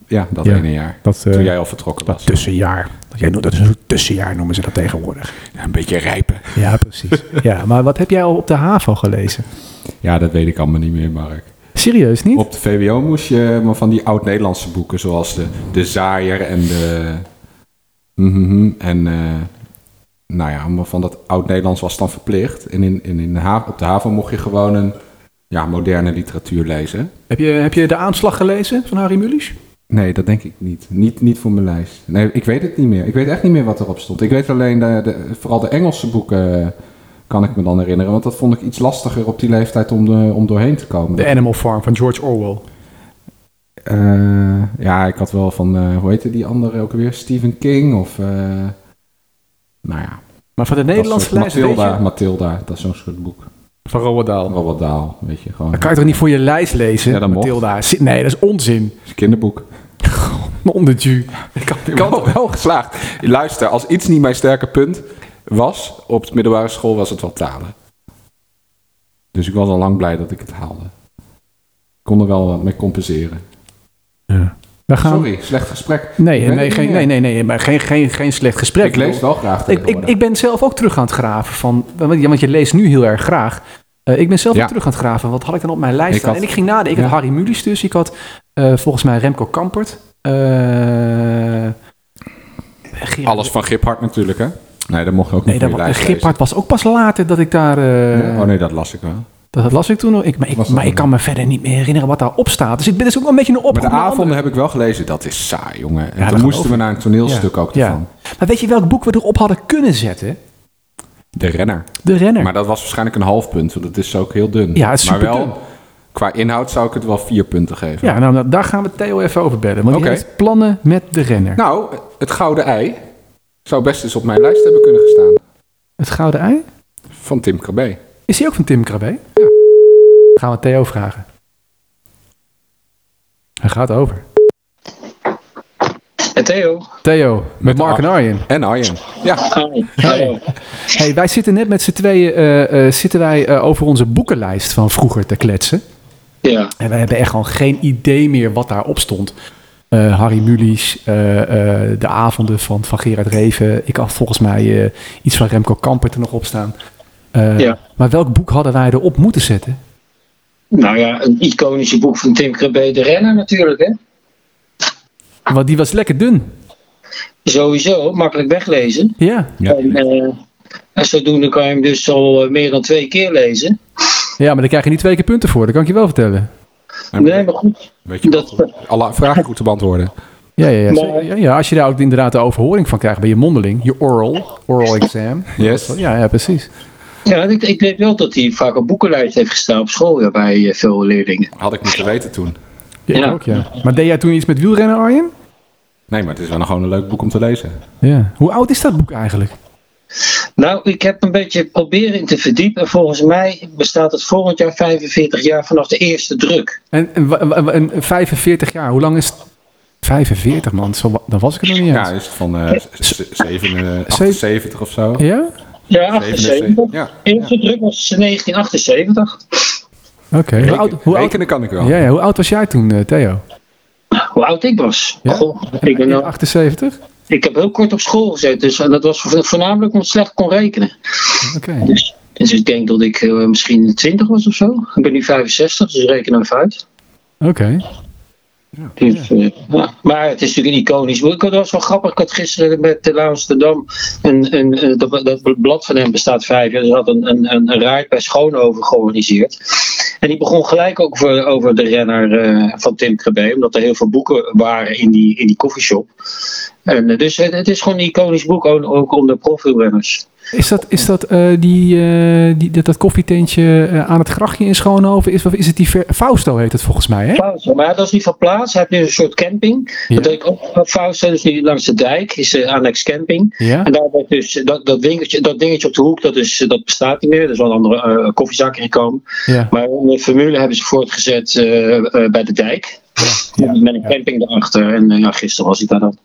Speaker 3: Ja, dat
Speaker 2: Ja,
Speaker 3: ene jaar.
Speaker 2: dat, dus- eh,
Speaker 3: Toen jij al vertrokken was.
Speaker 2: Tussenjaar. Jij noemt dat is een tussenjaar, noemen ze dat tegenwoordig.
Speaker 3: Ja, een beetje rijpen.
Speaker 2: Ja, precies. ja, maar wat heb jij al op de HAVO gelezen?
Speaker 3: Ja, dat weet ik allemaal niet meer, Mark.
Speaker 2: Serieus niet?
Speaker 3: Op de VWO moest je maar van die oud-Nederlandse boeken, zoals de, de Zaaier en de... Mhm, en eh, nou ja, maar van dat oud-Nederlands was dan verplicht. En in, in, in de ha- op de haven mocht je gewoon een ja, moderne literatuur lezen.
Speaker 2: Heb je, heb je De Aanslag gelezen van Harry Mulisch?
Speaker 3: Nee, dat denk ik niet. Niet, niet voor mijn lijst. Nee, ik weet het niet meer. Ik weet echt niet meer wat erop stond. Ik weet alleen, de, de- vooral de Engelse boeken eh, kan ik me dan herinneren. Want dat vond ik iets lastiger op die leeftijd om, de, om doorheen te komen.
Speaker 2: The Animal Farm van George Orwell.
Speaker 3: Eh, ja, ik had wel van, eh, hoe heette die andere ook weer? Stephen King of... eh, nou ja.
Speaker 2: Maar van de
Speaker 3: dat
Speaker 2: Nederlandse
Speaker 3: soort-
Speaker 2: lijst weet
Speaker 3: Matilda,
Speaker 2: je...
Speaker 3: Matilda, dat is zo'n soort boek.
Speaker 2: Van Roald Dahl.
Speaker 3: Robert Daal, weet je, gewoon
Speaker 2: Dan kan je toch niet voor je lijst lezen,
Speaker 3: Ja, dat mocht.
Speaker 2: Matilda? Zit- Nee, dat is onzin.
Speaker 3: een kinderboek.
Speaker 2: Onderdu. Ik kan, ik
Speaker 3: Ik
Speaker 2: kan
Speaker 3: had
Speaker 2: toch-
Speaker 3: wel geslaagd. Luister, als iets niet mijn sterke punt was op de middelbare school, was het wel talen. Dus ik was al lang blij dat ik het haalde. Ik kon er wel wat mee compenseren.
Speaker 2: We gaan...
Speaker 3: Sorry, slecht gesprek. Ik
Speaker 2: Nee,
Speaker 3: weet
Speaker 2: nee,
Speaker 3: het
Speaker 2: geen,
Speaker 3: niet
Speaker 2: nee,
Speaker 3: meer.
Speaker 2: nee, nee, maar geen, geen, geen slecht gesprek.
Speaker 3: Ik lees wel graag
Speaker 2: Ik, ik,
Speaker 3: tegenwoordig.
Speaker 2: ik ben zelf ook terug aan het graven van... Want ja, want je leest nu heel erg graag. Eh, ik ben zelf
Speaker 3: Ja.
Speaker 2: ook terug aan het graven. Wat had ik dan op mijn lijst
Speaker 3: Ik
Speaker 2: staan?
Speaker 3: had-
Speaker 2: en ik ging nadenken. Ik
Speaker 3: Ja.
Speaker 2: had Harry Mulisch dus. Ik had eh, volgens mij Remco Kampert. eh, Gerard-
Speaker 3: Alles van Giphart natuurlijk, hè? Nee, dat mocht je ook
Speaker 2: Nee,
Speaker 3: niet
Speaker 2: dat,
Speaker 3: voor je lijst
Speaker 2: Giphart was ook pas later dat ik daar... eh,
Speaker 3: lezen. Oh nee, dat las ik wel.
Speaker 2: Dat, dat las ik toen nog. Ik, maar ik,
Speaker 3: Was dat
Speaker 2: maar ik
Speaker 3: dan?
Speaker 2: kan me verder niet meer herinneren wat daarop staat. Dus ik ben dus ook wel een beetje een
Speaker 3: Maar
Speaker 2: oproep.
Speaker 3: de
Speaker 2: naar
Speaker 3: avonden
Speaker 2: anderen.
Speaker 3: heb ik wel gelezen. Dat is saai, jongen. En
Speaker 2: dat
Speaker 3: toen
Speaker 2: geloof
Speaker 3: moesten we
Speaker 2: ik.
Speaker 3: naar een toneelstuk ook
Speaker 2: Ja.
Speaker 3: ervan.
Speaker 2: Maar weet je welk boek we erop hadden kunnen zetten?
Speaker 3: De renner.
Speaker 2: De Renner.
Speaker 3: Maar dat was waarschijnlijk een half punt, want het is ook heel dun.
Speaker 2: Ja, het is
Speaker 3: maar
Speaker 2: superdun.
Speaker 3: wel, qua inhoud zou ik het wel vier punten geven.
Speaker 2: Ja, nou, nou, daar gaan we Theo even over bellen. Want
Speaker 3: Oké.
Speaker 2: die heeft plannen met de renner.
Speaker 3: Nou, het gouden ei zou best eens op mijn lijst hebben kunnen gestaan.
Speaker 2: Het gouden ei?
Speaker 3: Van Tim Krabbe.
Speaker 2: Is die ook van Tim Krabbe?
Speaker 3: Ja.
Speaker 2: Gaan we Theo vragen. Hij gaat over.
Speaker 10: En Theo.
Speaker 2: Theo, met Mark en Arjen.
Speaker 3: En Arjen. Ja,
Speaker 10: Hi. Hallo.
Speaker 2: Hey, wij zitten net met z'n tweeën eh, eh, zitten wij, eh, over onze boekenlijst van vroeger te kletsen.
Speaker 10: Ja,
Speaker 2: En wij hebben echt gewoon geen idee meer wat daarop stond. eh, Harry Mulisch, eh, eh, de avonden van, van Gerard Reven. Ik had volgens mij eh, iets van Remco Kampert er nog op staan. Eh,
Speaker 10: Ja.
Speaker 2: Maar welk boek hadden wij erop moeten zetten?
Speaker 10: Nou ja, een iconische boek van Tim Krabbe, de renner natuurlijk, hè?
Speaker 2: Want die was lekker dun.
Speaker 10: Sowieso, makkelijk weglezen.
Speaker 2: Ja,
Speaker 3: Ja.
Speaker 10: En, eh, en zodoende kan je hem dus al eh, meer dan twee keer lezen.
Speaker 2: ja maar daar krijg je niet twee keer punten voor. Dat kan ik je wel vertellen.
Speaker 3: En
Speaker 10: Nee, maar goed.
Speaker 3: Weet je,
Speaker 10: Dat-
Speaker 3: wel, alle vragen goed te beantwoorden.
Speaker 2: Ja, ja, ja.
Speaker 10: Maar-
Speaker 2: ja, ja, als je daar ook inderdaad de overhoring van krijgt bij je mondeling, je oral, oral exam. Oh,
Speaker 3: Yes.
Speaker 2: Ja, ja precies.
Speaker 10: Ja, ik, ik weet wel dat hij vaak op boekenlijst heeft gestaan op school ja, bij eh, veel leerlingen.
Speaker 3: Had ik moeten weten toen.
Speaker 2: Ja, ik
Speaker 10: Ja.
Speaker 2: Ook, ja. Maar deed jij toen iets met wielrennen, Arjen?
Speaker 3: Nee, maar het is wel gewoon een leuk boek om te lezen.
Speaker 2: Ja. Hoe oud is dat boek eigenlijk?
Speaker 10: Nou, ik heb een beetje proberen in te verdiepen. En volgens mij bestaat het volgend jaar 45 jaar vanaf de eerste druk.
Speaker 2: En, en, wa- wa- wa- en 45 jaar, hoe lang is het? 45 man, zo, wa- dan was ik er nog niet
Speaker 3: Ja,
Speaker 2: eens.
Speaker 3: is het van eh, z- z- zeven, eh, 78 of zo.
Speaker 2: Ja?
Speaker 10: Ja,
Speaker 3: 77.
Speaker 10: 78.
Speaker 3: Ja,
Speaker 10: eerste druk was 1978.
Speaker 2: Oké. Hoe oud- hoe oud-
Speaker 3: Rekenen kan ik wel.
Speaker 2: Ja, ja, hoe oud was jij toen, eh, Theo?
Speaker 10: Hoe oud ik was.
Speaker 2: Ja?
Speaker 10: Goh, Oh, ik, ben nou al-
Speaker 2: 78?
Speaker 10: ik heb heel kort op school gezeten. Dus, en dat was vo- voornamelijk omdat ik slecht kon rekenen.
Speaker 2: Oké.
Speaker 10: Dus, dus ik denk dat ik eh, misschien 20 was of zo. Ik ben nu 65, dus reken even uit.
Speaker 2: Oké.
Speaker 10: Dus, eh, ja. Maar het is natuurlijk een iconisch boek. Ik had- Dat was wel grappig. Ik had gisteren met de Amsterdam. Een, een, een- dat, dat blad van hem bestaat vijf jaar. Dus had een, een, een raad bij Schoonhoven georganiseerd. En die begon gelijk ook over, over de renner eh, van Tim Krabbe. Omdat er heel veel boeken waren in die, in die coffeeshop. En, eh, dus het, het is gewoon een iconisch boek. Ook, ook om de profielrenners.
Speaker 2: Is dat, is dat, eh, die, eh, die, dat, dat koffietentje eh, aan het grachtje in Schoonhoven? Is, is het die Ver- Fausto heet het volgens mij, hè?
Speaker 10: Fausto, maar dat is niet van plaats. Hij heeft nu een soort camping.
Speaker 2: Ja.
Speaker 10: Dat deed ik ook. Fausto is nu langs de dijk. Is eh, Annex Camping.
Speaker 2: Ja.
Speaker 10: En daar wordt dus eh, dat, dat, winkeltje, dat dingetje op de hoek, dat, is, eh, dat bestaat niet meer. Er is wel een andere eh, koffiezak in gekomen.
Speaker 2: ja.
Speaker 10: Maar de formule hebben ze voortgezet eh, eh, bij de dijk. Met een camping erachter. En eh, ja, gisteren was ik daar dan.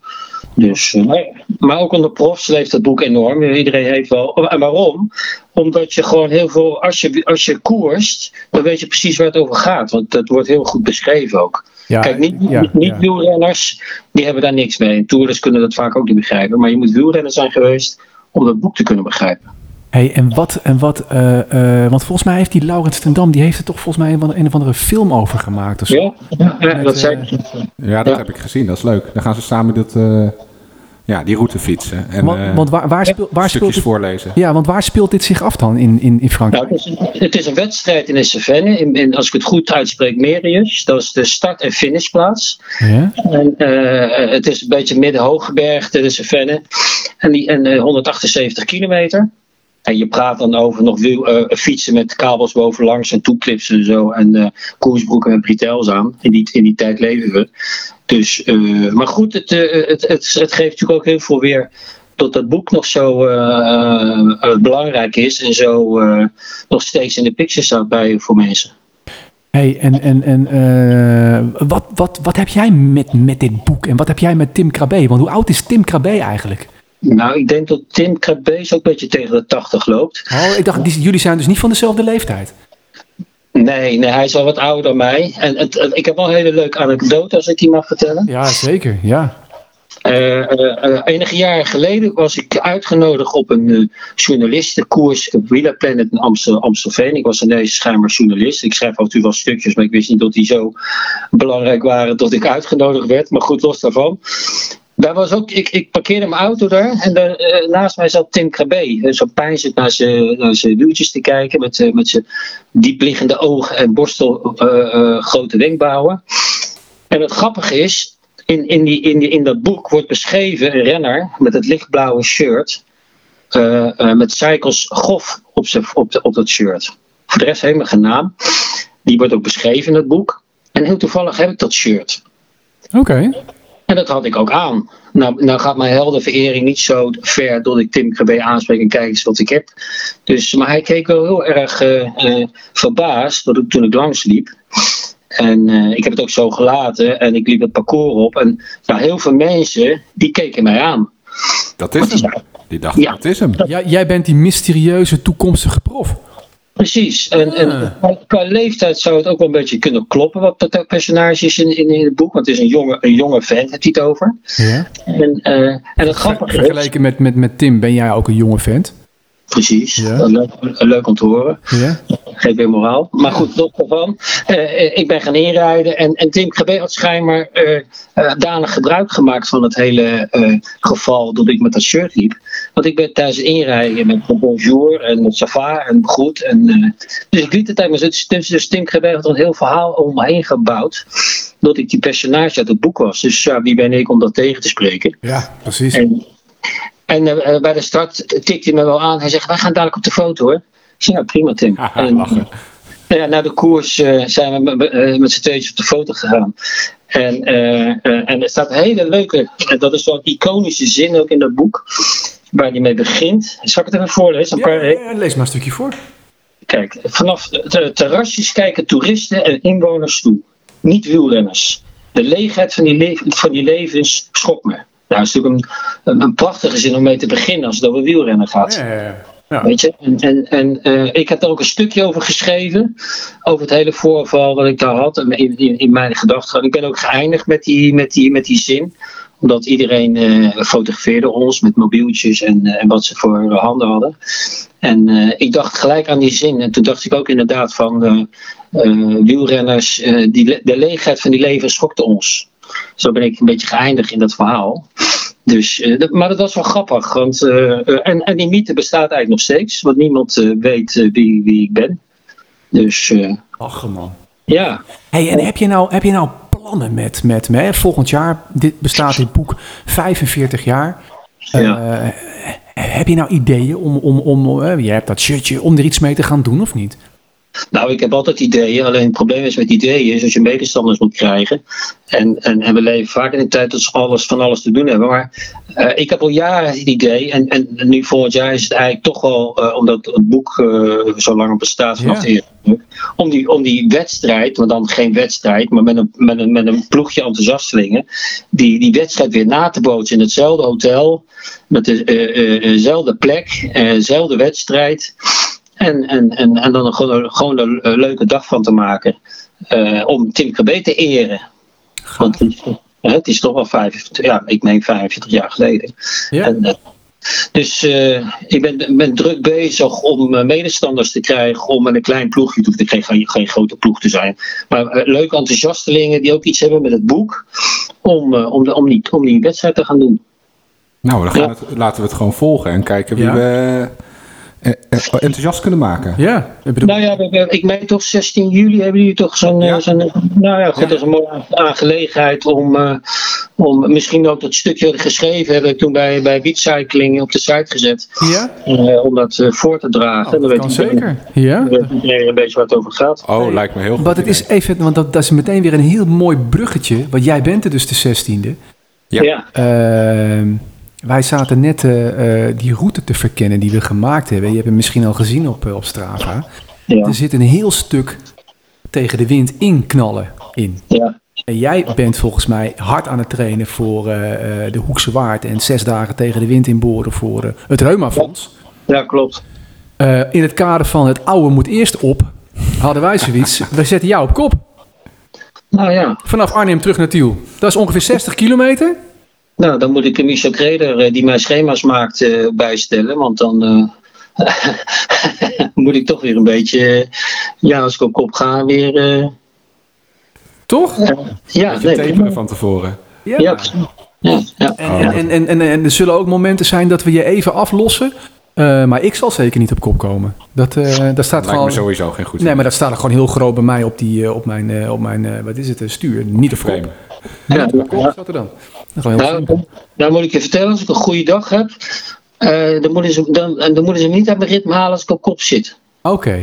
Speaker 10: Dus, eh, maar, maar ook onder profs leeft dat boek enorm. Iedereen heeft wel. oh, En waarom? Omdat je gewoon heel veel. Als je, als je koerst, dan weet je precies waar het over gaat. Want dat wordt heel goed beschreven ook.
Speaker 2: Ja,
Speaker 10: Kijk, niet,
Speaker 2: ja,
Speaker 10: niet, niet
Speaker 2: ja.
Speaker 10: wielrenners, die hebben daar niks mee. En toerers kunnen dat vaak ook niet begrijpen. Maar je moet wielrenner zijn geweest om dat boek te kunnen begrijpen.
Speaker 2: Hey, en wat, en wat eh, eh, want volgens mij heeft die Laurens ten Dam, die heeft er toch volgens mij een, een of andere film over gemaakt of zo.
Speaker 10: Ja, ja, dat zijn.
Speaker 2: eh,
Speaker 3: Ja, dat
Speaker 10: Ja.
Speaker 3: heb ik gezien. Dat is leuk. Dan gaan ze samen dat, eh, ja, die route fietsen. En
Speaker 2: want,
Speaker 3: eh,
Speaker 2: want waar, waar, speel- waar speelt
Speaker 3: stukjes
Speaker 2: dit,
Speaker 3: voorlezen.
Speaker 2: ja, want waar speelt dit zich af dan in, in, in
Speaker 10: Nou,
Speaker 2: Frankrijk?
Speaker 10: het, is een, het is een wedstrijd in Sevenne. In, in, als ik het goed uitspreek, Merius. Dat is de start- en finishplaats.
Speaker 2: Ja?
Speaker 10: En, eh, het is een beetje midden-hooggebergte, de Cévenne. En, die, en eh, 178 kilometer. En je praat dan over nog wiel, eh, fietsen met kabels bovenlangs en toeclips en zo. En eh, koersbroeken en bretels aan. In die, in die tijd leven we. Dus, eh, maar goed, het, eh, het, het, het geeft natuurlijk ook heel veel weer dat dat boek nog zo eh, eh, belangrijk is. En zo eh, nog steeds in de picture staat bij voor mensen.
Speaker 2: Hey, en, en, en eh, wat, wat, wat heb jij met, met dit boek en wat heb jij met Tim Krabbe? Want hoe oud is Tim Krabbe eigenlijk?
Speaker 10: Nou, ik denk dat Tim Krabbees ook een beetje tegen de 80 loopt.
Speaker 2: Oh, ik dacht, die, jullie zijn dus niet van dezelfde leeftijd.
Speaker 10: Nee, nee, hij is al wat ouder dan mij. En het, het- ik heb wel een hele leuke anekdote als ik die mag vertellen.
Speaker 2: Ja, zeker. Ja.
Speaker 10: Eh, eh, eh, enige jaren geleden was ik uitgenodigd op een eh, journalistenkoers op Wheeler Planet in Amstel, Amstelveen. Ik was ineens schijnbaar journalist. Ik schrijf af en toe wel stukjes, maar ik wist niet dat die zo belangrijk waren dat ik uitgenodigd werd. Maar goed, los daarvan. Daar was ook, ik, ik parkeerde mijn auto daar en daar, eh, naast mij zat Tim Krabbe. Eh, Zo pijnzend naar zijn naar zijn wieltjes te kijken met, eh, met zijn diepliggende ogen en borstel eh, eh, grote wenkbrauwen. En het grappige is, in, in, die, in, die, in dat boek wordt beschreven een renner met het lichtblauwe shirt. eh, eh, met Cycles Goff op, zijn, op, de- op dat shirt. Voor de rest helemaal geen naam. Die wordt ook beschreven in het boek. En heel toevallig heb ik dat shirt.
Speaker 2: Oké.
Speaker 10: En dat had ik ook aan. Nou, nou gaat mijn heldenverering niet zo ver dat ik Tim Krabbe aanspreek en kijk eens wat ik heb. Dus, maar hij keek wel heel erg eh, eh, verbaasd dat ik, toen ik langsliep. En eh, ik heb het ook zo gelaten en ik liep het parcours op. En nou, heel veel mensen die keken mij aan.
Speaker 3: Dat is hem. Die dacht,
Speaker 10: Ja.
Speaker 3: dat is hem.
Speaker 2: Ja, jij bent die mysterieuze toekomstige prof.
Speaker 10: Precies. En, en qua, qua leeftijd zou het ook wel een beetje kunnen kloppen wat dat personage is in, in, in het boek. Want het is een jonge, een jonge vent, heeft hij het over.
Speaker 2: Ja.
Speaker 10: En, eh, en het
Speaker 2: Ver-
Speaker 10: grappige is...
Speaker 2: Vergeleken met, met, met Tim ben jij ook een jonge vent.
Speaker 10: Precies.
Speaker 2: Ja.
Speaker 10: Dat is Leuk, leuk om te horen.
Speaker 2: Ja.
Speaker 10: Geef weer moraal. Maar goed, nog ervan. Eh, eh, ik ben gaan inrijden en, en Tim GB had schijnbaar eh, eh, danig gebruik gemaakt van het hele eh, geval dat ik met dat shirt liep. Want ik ben tijdens het inrijden met bonjour en met sava en goed. En, eh, dus ik liet het tijdens het dus, dus Tim GB had er een heel verhaal omheen gebouwd. Dat ik die personage uit het boek was. Dus ja, wie ben ik om dat tegen te spreken?
Speaker 2: Ja, precies.
Speaker 10: En, en eh, eh, bij de start tikt hij me wel aan. Hij zegt, wij gaan dadelijk op de foto hoor. Ik zeg, nou prima Tim. En, nou ja, na de koers eh, zijn we met- eh, met z'n tweeën op de foto gegaan. En, eh, eh, en er staat een hele leuke, en dat is zo'n iconische zin ook in dat boek, waar hij mee begint. Zal ik het even voorlezen? Een paar,
Speaker 2: lees maar een stukje voor.
Speaker 10: Kijk, vanaf de terrasjes kijken toeristen en inwoners toe. Niet wielrenners. De leegheid van die, le- van die levens schokt me. Nou, dat is natuurlijk een, een, een prachtige zin om mee te beginnen als het over wielrennen gaat.
Speaker 2: Ja, ja, ja. Ja.
Speaker 10: Weet je? En, en, en eh, ik heb daar ook een stukje over geschreven. Over het hele voorval wat ik daar had. en In, in, in mijn gedachten. Ik ben ook geëindigd met die, met die, met die zin. Omdat iedereen eh, fotografeerde ons met mobieltjes en, eh, en wat ze voor eh, handen hadden. En eh, ik dacht gelijk aan die zin. En toen dacht ik ook inderdaad van eh, eh, wielrenners. eh, die, le- de leegheid van die leven schokte ons. Zo ben ik een beetje geëindigd in dat verhaal. Dus, eh, dat- maar dat was wel grappig. Want, eh, eh, en, en die mythe bestaat eigenlijk nog steeds. Want niemand eh, weet eh, wie, wie ik ben. Dus eh,
Speaker 2: Ach man.
Speaker 10: ja.
Speaker 2: Hey, en heb je nou, heb je nou plannen met, met me? hè? Volgend jaar dit bestaat dit boek 45 jaar.
Speaker 10: ja.
Speaker 2: Eh, heb je nou ideeën om, om, om eh, je hebt dat shirtje, om er iets mee te gaan doen of niet?
Speaker 10: Nou, ik heb altijd ideeën. Alleen het probleem is met ideeën is dat je medestanders moet krijgen. En, en, en we leven vaak in een tijd dat ze alles, van alles te doen hebben. Maar eh, ik heb al jaren het idee. En, en nu volgend jaar is het eigenlijk toch wel, eh, omdat het boek eh, zo lang bestaat vanaf
Speaker 2: Ja.
Speaker 10: de eerste druk, om die, om die wedstrijd, maar dan geen wedstrijd, maar met een, met een, met een ploegje enthousiastelingen, die, die wedstrijd weer na te bootsen in hetzelfde hotel, met de- eh, eh, eh, dezelfde plek, eh, dezelfde wedstrijd. En, en, en, en dan gewoon, gewoon een eh, leuke dag van te maken. eh, om Tim KB te eren. Want het is- hè, het is toch wel 45, ja, ik meen 45 jaar geleden.
Speaker 2: Ja.
Speaker 10: En, eh, dus eh, ik ben, ben druk bezig om eh, medestanders te krijgen. Om met een klein ploegje, het hoeft geen, geen, geen grote ploeg te zijn. Maar eh, leuke enthousiastelingen die ook iets hebben met het boek. Om, eh, om, de- om, die, om die wedstrijd te gaan doen.
Speaker 3: Nou, dan gaan
Speaker 10: Ja.
Speaker 3: we het- laten we het gewoon volgen en kijken wie
Speaker 2: Ja.
Speaker 3: we eh, eh, enthousiast kunnen maken.
Speaker 2: Ja, ik bedoel,
Speaker 10: Nou ja, we- we- ik meen toch 16 juli hebben jullie toch zo'n... eh,
Speaker 3: Ja.
Speaker 10: zo'n- nou ja, goed,
Speaker 3: Ja.
Speaker 10: dat is een mooie aangelegenheid om, eh, om misschien ook dat stukje wat ik geschreven heb, heb ik toen bij, bij Wietcycling op de site gezet,
Speaker 2: ja,
Speaker 10: eh, om dat eh, voor te dragen. En
Speaker 2: Oh, dat kan
Speaker 10: weet iedereen-
Speaker 2: zeker. Ja.
Speaker 10: dan weet iedereen een beetje waar het over gaat.
Speaker 3: Oh, lijkt me heel goed.
Speaker 2: Maar het is even, want dat, dat is meteen weer een heel mooi bruggetje, want jij bent er dus de 16e.
Speaker 3: Ja.
Speaker 10: Ja.
Speaker 2: Ehm, wij zaten net eh, eh, die route te verkennen die we gemaakt hebben. Je hebt hem misschien al gezien op, eh, op Strava.
Speaker 10: Ja.
Speaker 2: Er zit een heel stuk tegen de wind inknallen in.
Speaker 10: ja.
Speaker 2: En jij bent volgens mij hard aan het trainen voor eh, eh, de Hoekse Waard. En zes dagen tegen de wind inboren voor eh, het Reumafonds.
Speaker 10: Ja, klopt.
Speaker 2: Eh, in het kader van het oude moet eerst op, hadden wij zoiets. We zetten jou op kop.
Speaker 10: Nou ja,
Speaker 2: Vanaf Arnhem terug naar Tiel. Dat is ongeveer 60 kilometer.
Speaker 10: nou, dan moet ik Michel Kreder, eh, die mijn schema's maakt, eh, bijstellen, want dan... eh, moet ik toch weer een beetje, eh, ja, als ik op kop ga, weer. eh,
Speaker 2: Toch?
Speaker 10: ja, nee,
Speaker 3: Taperen van tevoren.
Speaker 10: Ja, precies. ja, ja.
Speaker 2: En,
Speaker 3: Oh.
Speaker 2: en, en, en, en, en er zullen ook momenten zijn dat we je even aflossen. Eh, maar ik zal zeker niet op kop komen. Dat, eh dat staat
Speaker 3: Lijkt me
Speaker 2: gewoon...
Speaker 3: sowieso geen goed
Speaker 2: Nee, maar dat staat er gewoon heel groot bij mij op, die, eh, op mijn, eh, op mijn eh, wat is het, eh, stuur. Niet op
Speaker 3: frame.
Speaker 2: kop.
Speaker 10: Ja,
Speaker 2: Op kop
Speaker 10: ja.
Speaker 2: staat er dan. Dat is gewoon heel simpel.
Speaker 10: Nou, nou moet ik je vertellen, als ik een goede dag heb, eh, dan, moeten ze, dan, en dan moeten ze me niet uit mijn ritme halen als ik op kop zit.
Speaker 2: Oké.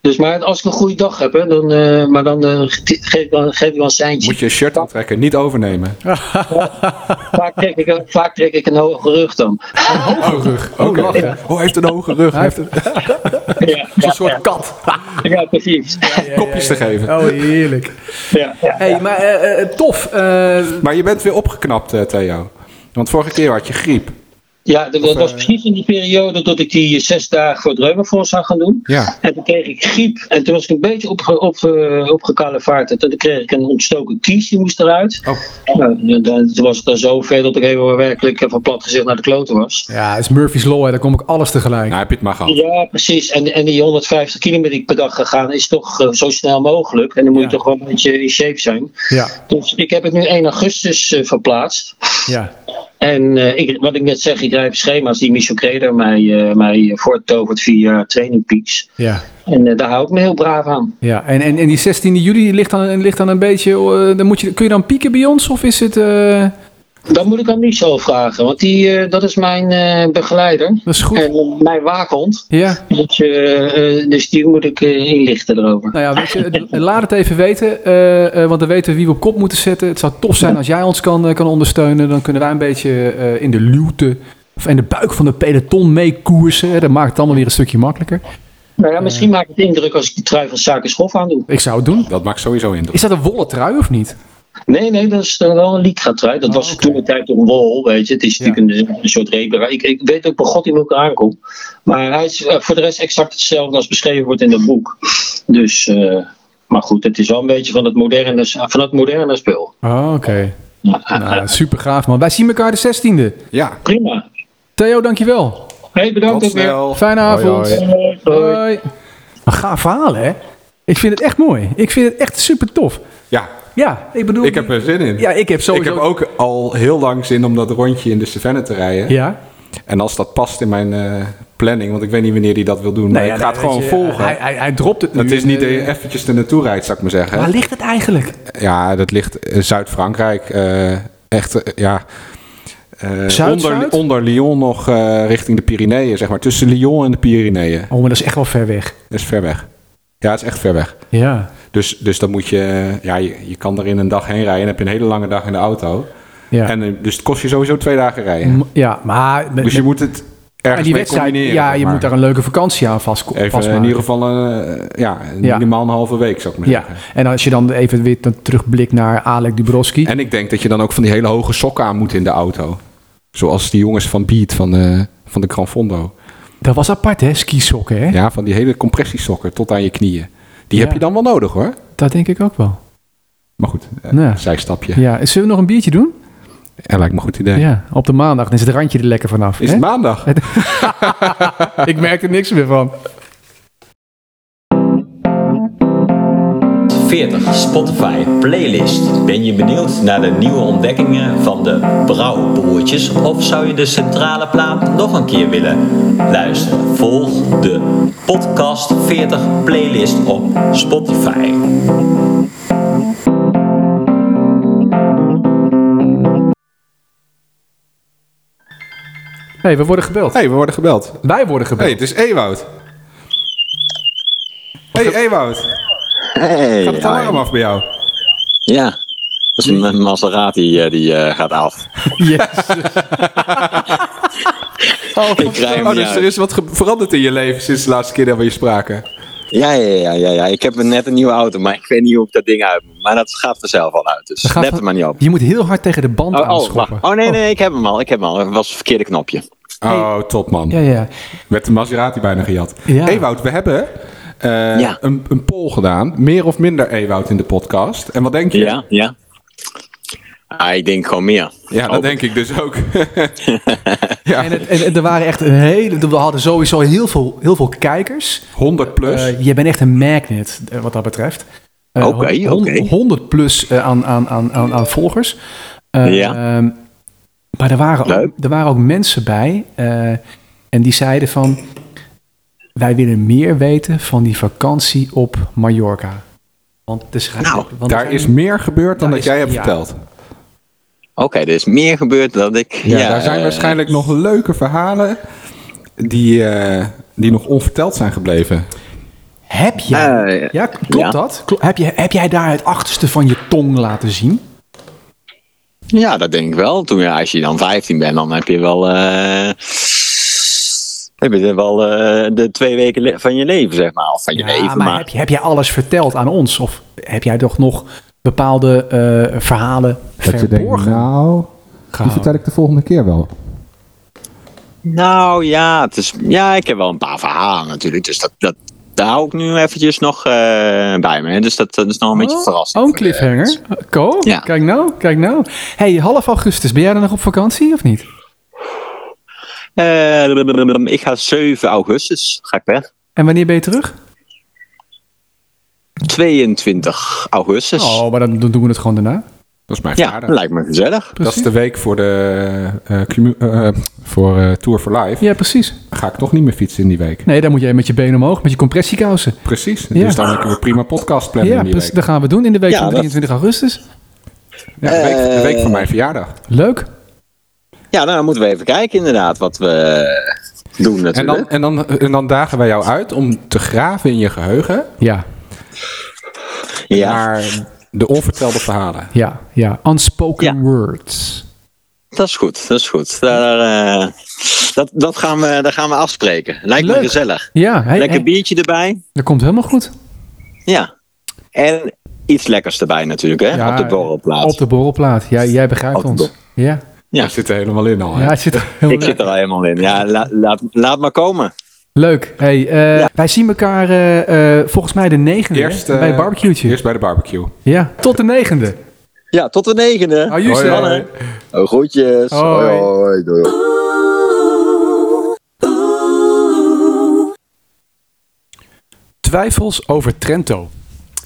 Speaker 10: Dus maar als ik een goede dag heb, hè, dan, eh, maar dan eh, ge- geef, ik wel- geef ik wel een seintje.
Speaker 3: Moet je een shirt aantrekken, niet overnemen.
Speaker 10: Vaak, trek ik, een- vaak trek ik een hoge rug dan.
Speaker 3: Oké.
Speaker 2: lachen.
Speaker 3: Oh, hij heeft een hoge rug. Hij heeft een
Speaker 10: ja,
Speaker 2: Een
Speaker 10: ja,
Speaker 2: soort kat.
Speaker 10: ja, precies.
Speaker 3: kopjes te geven.
Speaker 2: Oh, heerlijk.
Speaker 10: Ja, ja.
Speaker 2: hey, maar eh, eh, tof. Eh,
Speaker 3: Maar je bent weer opgeknapt, eh, Theo. Want vorige keer had je griep.
Speaker 10: Ja, dat dat was precies in die periode dat ik die zes dagen voor het Reumafonds zou gaan doen.
Speaker 3: Ja.
Speaker 10: En toen kreeg ik griep. En toen was ik een beetje opge, op, eh, opgekalevaard. En toen kreeg ik een ontstoken kies, die moest eruit.
Speaker 3: Oh.
Speaker 10: Nou, dan- toen was het dan zover dat ik helemaal werkelijk eh, van plat gezegd naar de kloten was.
Speaker 2: Ja, het is Murphy's Law, hè, daar kom ik alles tegelijk.
Speaker 3: Nou, heb je het maar gehad.
Speaker 10: Ja, precies. En, en die 150 kilometer die ik per dag gegaan is toch eh, zo snel mogelijk. En dan moet
Speaker 2: Ja.
Speaker 10: je toch wel een beetje in shape zijn.
Speaker 2: Ja,
Speaker 10: Dus ik heb het nu 1 augustus eh, verplaatst.
Speaker 2: ja.
Speaker 10: En eh, ik, wat ik net zeg, ik rij op schema's die Michel Kreder mij, eh, mij voorttovert via Training Peaks.
Speaker 2: ja.
Speaker 10: En eh, daar hou ik me heel braaf aan.
Speaker 2: Ja, en, en, en die 16 juli ligt dan, ligt dan een beetje. eh, dan moet je, kun je dan pieken bij ons? Of is het. eh,
Speaker 10: Dat moet ik aan Michel vragen, want die, eh, dat is mijn eh, begeleider.
Speaker 2: dat is goed.
Speaker 10: En eh, mijn waakhond.
Speaker 2: Ja.
Speaker 10: Dus, eh, eh, dus die moet ik eh, inlichten erover.
Speaker 2: Nou ja, weet je, laat het even weten. eh, eh, want dan weten we wie we op kop moeten zetten. Het zou tof zijn als jij ons kan, eh, kan ondersteunen. Dan kunnen wij een beetje eh, in de luwte. Of in de buik van de peloton meekoersen. hè. Dat maakt het allemaal weer een stukje makkelijker.
Speaker 10: Nou ja, misschien maakt het indruk als ik die trui van Sakerschof aandoe.
Speaker 2: Ik zou het doen.
Speaker 3: Dat maakt sowieso indruk.
Speaker 2: Is dat een wollen trui of niet?
Speaker 10: Nee, nee, dat is dan wel een Lycra trui.
Speaker 3: Oh,
Speaker 10: Dat was toen een tijd een wol, weet je. Het is
Speaker 2: Ja.
Speaker 10: natuurlijk een, een soort replica. Ik, ik weet ook bij god niet hoe ik eraan kom. Maar hij is eh, voor de rest exact hetzelfde als beschreven wordt in dat boek. Dus, eh, maar goed, het is wel een beetje van het moderne, van het moderne spul.
Speaker 3: Ah,
Speaker 2: Oh, oké. Nou, super gaaf man. Wij zien elkaar de 16e.
Speaker 3: Ja,
Speaker 10: Prima.
Speaker 2: Theo, dankjewel.
Speaker 10: Hey, bedankt
Speaker 3: tot
Speaker 10: ook weer.
Speaker 3: snel.
Speaker 2: Fijne avond.
Speaker 3: Hoi, hoi.
Speaker 10: Hoi.
Speaker 2: Hoi. Een gaaf verhaal, hè? Ik vind het echt mooi. Ik vind het echt super tof.
Speaker 3: Ja,
Speaker 2: Ja, ik bedoel...
Speaker 3: ik heb er zin in.
Speaker 2: Ja, ik heb
Speaker 3: ik
Speaker 2: sowieso...
Speaker 3: heb ook al heel lang zin om dat rondje in de Savannah te rijden.
Speaker 2: Ja?
Speaker 3: En als dat past in mijn eh, planning, want ik weet niet wanneer hij dat wil doen, maar ik ga het
Speaker 2: Nou weet
Speaker 3: gewoon
Speaker 2: je,
Speaker 3: volgen.
Speaker 2: Hij, hij, hij dropt het nu.
Speaker 3: het is niet e- dat
Speaker 2: Eh,
Speaker 3: je eventjes er naartoe rijdt, zou ik maar zeggen.
Speaker 2: Waar ligt het eigenlijk?
Speaker 3: Ja, dat ligt eh, Zuid-Frankrijk. eh, echt, eh, ja. eh, onder,
Speaker 2: Zuid-Zuid?
Speaker 3: onder Lyon nog eh, richting de Pyreneeën, zeg maar. Tussen Lyon en de Pyreneeën.
Speaker 2: Oh, maar dat is echt wel ver weg.
Speaker 3: Dat is ver weg. Ja, het is echt ver weg.
Speaker 2: Ja.
Speaker 3: Dus, dus dan moet je, eh, ja, je, je kan er in een dag heen rijden. Dan heb je een hele lange dag in de auto.
Speaker 2: Ja,
Speaker 3: En, eh, dus het kost je sowieso twee dagen rijden.
Speaker 2: M- ja maar... met-
Speaker 3: dus je
Speaker 2: met-
Speaker 3: moet het ergens
Speaker 2: en die
Speaker 3: mee
Speaker 2: wedstrijd,
Speaker 3: combineren.
Speaker 2: ja,
Speaker 3: zeg
Speaker 2: je
Speaker 3: maar.
Speaker 2: moet daar een leuke vakantie aan vast,
Speaker 3: Even
Speaker 2: vastmaken.
Speaker 3: in ieder geval eh, ja,
Speaker 2: Ja.
Speaker 3: minimaal een halve week, zou ik maar
Speaker 2: Ja,
Speaker 3: zeggen.
Speaker 2: en als je dan even weer dan terugblikt naar Alec Dubrovski.
Speaker 3: En ik denk dat je dan ook van die hele hoge sokken aan moet in de auto. Zoals die jongens van Beat, van de, van de Gran Fondo.
Speaker 2: Dat was apart, hè? Skisokken, hè?
Speaker 3: Ja, van die hele compressiesokken tot aan je knieën. Die
Speaker 2: Ja.
Speaker 3: heb je dan wel nodig hoor.
Speaker 2: Dat denk ik ook wel.
Speaker 3: Maar goed, eh,
Speaker 2: Ja.
Speaker 3: zijstapje.
Speaker 2: Ja, zullen we nog een biertje doen?
Speaker 3: Ja, lijkt me een goed idee.
Speaker 2: Ja, op de maandag. Dan is het randje er lekker vanaf.
Speaker 3: Is
Speaker 2: hè?
Speaker 3: het maandag?
Speaker 2: Ik merk er niks meer van.
Speaker 1: 40 Spotify playlist. Ben je benieuwd naar de nieuwe ontdekkingen van de Brouwbroertjes of zou je de centrale plaat nog een keer willen luisteren? Volg de podcast 40 playlist op Spotify.
Speaker 2: Hé, we worden gebeld.
Speaker 3: Hé, hey, we worden gebeld. Hé,
Speaker 2: Wij worden gebeld.
Speaker 3: hey, het is Ewoud. Hé, hey, Ewoud.
Speaker 11: Hey,
Speaker 3: Gaat het alarm af bij jou?
Speaker 11: ja. Dat is mijn Maserati eh, die eh, gaat af. ik rij hem
Speaker 3: Oh,
Speaker 11: niet
Speaker 3: dus
Speaker 11: uit.
Speaker 3: er is wat ge- veranderd in je leven sinds de laatste keer dat we hier spraken.
Speaker 11: Ja, ja, ja, ja, ja. Ik heb net een nieuwe auto, maar ik weet niet hoe ik dat ding uit moet. Maar dat gaat vanzelf al uit, dus
Speaker 2: gaat
Speaker 11: let
Speaker 2: van-
Speaker 11: er maar niet op.
Speaker 2: Je moet heel hard tegen de band
Speaker 11: Oh, oh,
Speaker 2: aanschoppen.
Speaker 11: wacht. oh nee, nee, ik heb hem al. Ik heb hem al. Het was het verkeerde knopje.
Speaker 3: Oh, top man.
Speaker 2: Ja, ja.
Speaker 3: Werd de Maserati bijna gejat.
Speaker 2: Ja.
Speaker 3: Ewout, we hebben eh,
Speaker 11: Ja.
Speaker 3: een, een poll gedaan. Meer of minder Ewout in de podcast. En wat denk je?
Speaker 11: Ja, ja. Ah, ik denk gewoon meer.
Speaker 3: Ja, dat denk ik dus ook. ja,
Speaker 2: En, het- en, en er waren echt een hele... We hadden sowieso heel veel, heel veel kijkers.
Speaker 3: 100 plus.
Speaker 2: Eh, je bent echt een magnet, eh, wat dat betreft. Eh,
Speaker 11: Oké,
Speaker 2: hon- hon-
Speaker 11: oké.
Speaker 2: 100 plus eh, aan, aan, aan, aan, aan volgers. Eh,
Speaker 11: Ja.
Speaker 2: ehm, maar er waren, ook,
Speaker 11: Leuk.
Speaker 2: er waren ook mensen bij. eh, en die zeiden van... Wij willen meer weten van die vakantie op Mallorca. Want het is
Speaker 11: Nou,
Speaker 2: want
Speaker 3: Daar
Speaker 2: er
Speaker 3: is
Speaker 2: zijn-
Speaker 3: meer gebeurd dan
Speaker 2: daar
Speaker 3: dat
Speaker 2: is-
Speaker 3: jij hebt
Speaker 2: ja.
Speaker 3: verteld.
Speaker 11: Oh, Oké, er is meer gebeurd dan ik...
Speaker 3: Ja, daar zijn
Speaker 11: eh,
Speaker 3: waarschijnlijk nog leuke verhalen die, eh, die nog onverteld zijn gebleven.
Speaker 2: Heb jij...
Speaker 11: Eh,
Speaker 2: ja, klopt
Speaker 11: ja.
Speaker 2: dat? Klo- heb, je, heb jij daar het achterste van je tong laten zien?
Speaker 11: Ja, dat denk ik wel. Toen, ja, als je dan 15 bent, dan heb je wel. eh, heb je er wel eh, de twee weken le- van je leven, zeg maar. Of van je
Speaker 2: Ja,
Speaker 11: leven,
Speaker 2: maar
Speaker 11: maar.
Speaker 2: heb, je- heb jij alles verteld aan ons? Of heb jij toch nog bepaalde eh, verhalen verborgen
Speaker 3: nou,
Speaker 2: gehouden?
Speaker 3: ik de volgende keer wel.
Speaker 11: Nou ja, het is, ja, ik heb wel een paar verhalen natuurlijk. Dus dat, dat, daar hou ik nu eventjes nog eh, bij me. hè. Dus dat, dat is nog een beetje verrassend. eh,
Speaker 2: Oh, een cliffhanger. Ko,
Speaker 11: Ja.
Speaker 2: kijk nou, kijk nou. hey, half augustus, ben jij dan nog op vakantie of niet?
Speaker 11: Eh, blablabla, ik ga 7 augustus ga ik weg.
Speaker 2: En wanneer ben je terug?
Speaker 11: 22 augustus.
Speaker 2: Oh, maar dan, dan doen we het gewoon daarna.
Speaker 3: Dat is mijn
Speaker 11: Ja,
Speaker 3: vader.
Speaker 11: lijkt me gezellig.
Speaker 3: Dat is de week voor de eh, commu- eh, voor eh, Tour for Life.
Speaker 2: Ja, precies.
Speaker 3: Ga ik toch niet meer fietsen in die week.
Speaker 2: Nee, dan moet jij met je benen omhoog, met je compressiekousen.
Speaker 3: Precies.
Speaker 2: Ja.
Speaker 3: Dus dan kunnen we prima podcast plannen
Speaker 2: ja,
Speaker 3: in die
Speaker 2: precies.
Speaker 3: week.
Speaker 2: Dat gaan we doen in de week
Speaker 11: Ja,
Speaker 2: van
Speaker 11: dat-
Speaker 2: 23 augustus.
Speaker 3: Ja, de, week, de week van mijn verjaardag.
Speaker 2: Leuk.
Speaker 11: Ja, nou, dan moeten we even kijken inderdaad wat we doen
Speaker 3: En
Speaker 11: natuurlijk.
Speaker 3: dan, en, dan, en dan dagen wij jou uit om te graven in je geheugen
Speaker 2: Ja,
Speaker 11: ja.
Speaker 3: naar de onvertelde verhalen.
Speaker 2: ja, ja. Unspoken
Speaker 11: Ja.
Speaker 2: words.
Speaker 11: Dat is goed, dat is goed. Daar, eh, dat, dat, gaan we, dat gaan we afspreken. Lijkt
Speaker 2: Leuk.
Speaker 11: me gezellig.
Speaker 2: Ja, hey,
Speaker 11: Lekker
Speaker 2: hey,
Speaker 11: biertje erbij.
Speaker 2: dat komt helemaal goed.
Speaker 11: Ja. En iets lekkers erbij natuurlijk, hè?
Speaker 2: Ja,
Speaker 11: op de borrelplaats.
Speaker 2: Op de borrelplaat. Ja, jij begrijpt
Speaker 11: Op de
Speaker 2: ons.
Speaker 11: borrel.
Speaker 2: Ja.
Speaker 11: Ja.
Speaker 3: We zitten helemaal in al. hè?
Speaker 2: ja, het zit er heel
Speaker 11: Ik zit er al helemaal in. Ja, la- laat, laat maar komen.
Speaker 2: Leuk. Hey, eh,
Speaker 11: Ja.
Speaker 2: Wij zien elkaar eh, eh, volgens mij de negende hè?
Speaker 3: Eerst, eh,
Speaker 2: bij barbecue'tje.
Speaker 3: Eerst bij de barbecue.
Speaker 2: Ja, tot de negende.
Speaker 11: Ja, tot de negende.
Speaker 2: Hou je
Speaker 3: Hoi,
Speaker 2: zo.
Speaker 3: hoi.
Speaker 11: Oh, groetjes.
Speaker 2: Hoi.
Speaker 11: Hoi, hoi. Doei.
Speaker 2: Twijfels over Trento.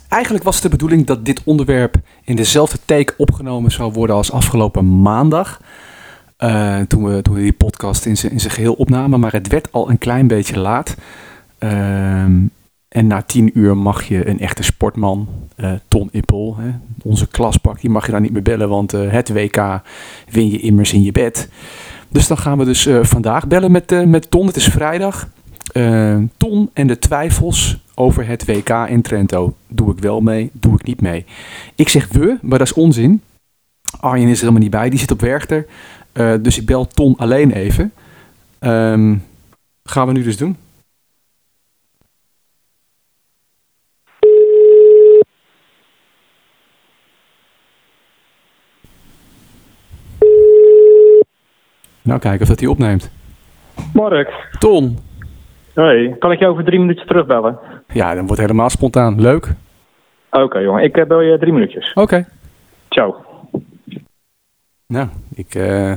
Speaker 2: Eigenlijk was het de bedoeling dat dit onderwerp in dezelfde take opgenomen zou worden als afgelopen maandag. Eh, toen, we, toen we die podcast in zijn in zijn geheel opnamen, maar het werd al een klein beetje laat. Ehm, en na tien uur mag je een echte sportman, eh, Ton Ippel, hè, onze klasbak, die mag je daar niet meer bellen, want eh, het WK win je immers in je bed. Dus dan gaan we dus eh, vandaag bellen met, eh, met Ton. Het is vrijdag. Eh, Ton en de twijfels over het WK in Trento. Doe ik wel mee, doe ik niet mee. Ik zeg we, maar dat is onzin. Arjen is er helemaal niet bij, die zit op Werchter. Eh, dus ik bel Ton alleen even. Ehm, gaan we nu dus doen. Nou, kijken of dat hij opneemt.
Speaker 12: Mark,
Speaker 2: Ton.
Speaker 12: hoi. Kan ik jou over drie minuutjes terugbellen? Oké,
Speaker 2: Ja, dan wordt helemaal spontaan. Leuk. Oké.
Speaker 12: jongen. Ik eh, bel je drie minuutjes. Ciao.
Speaker 2: Nou, ik, eh,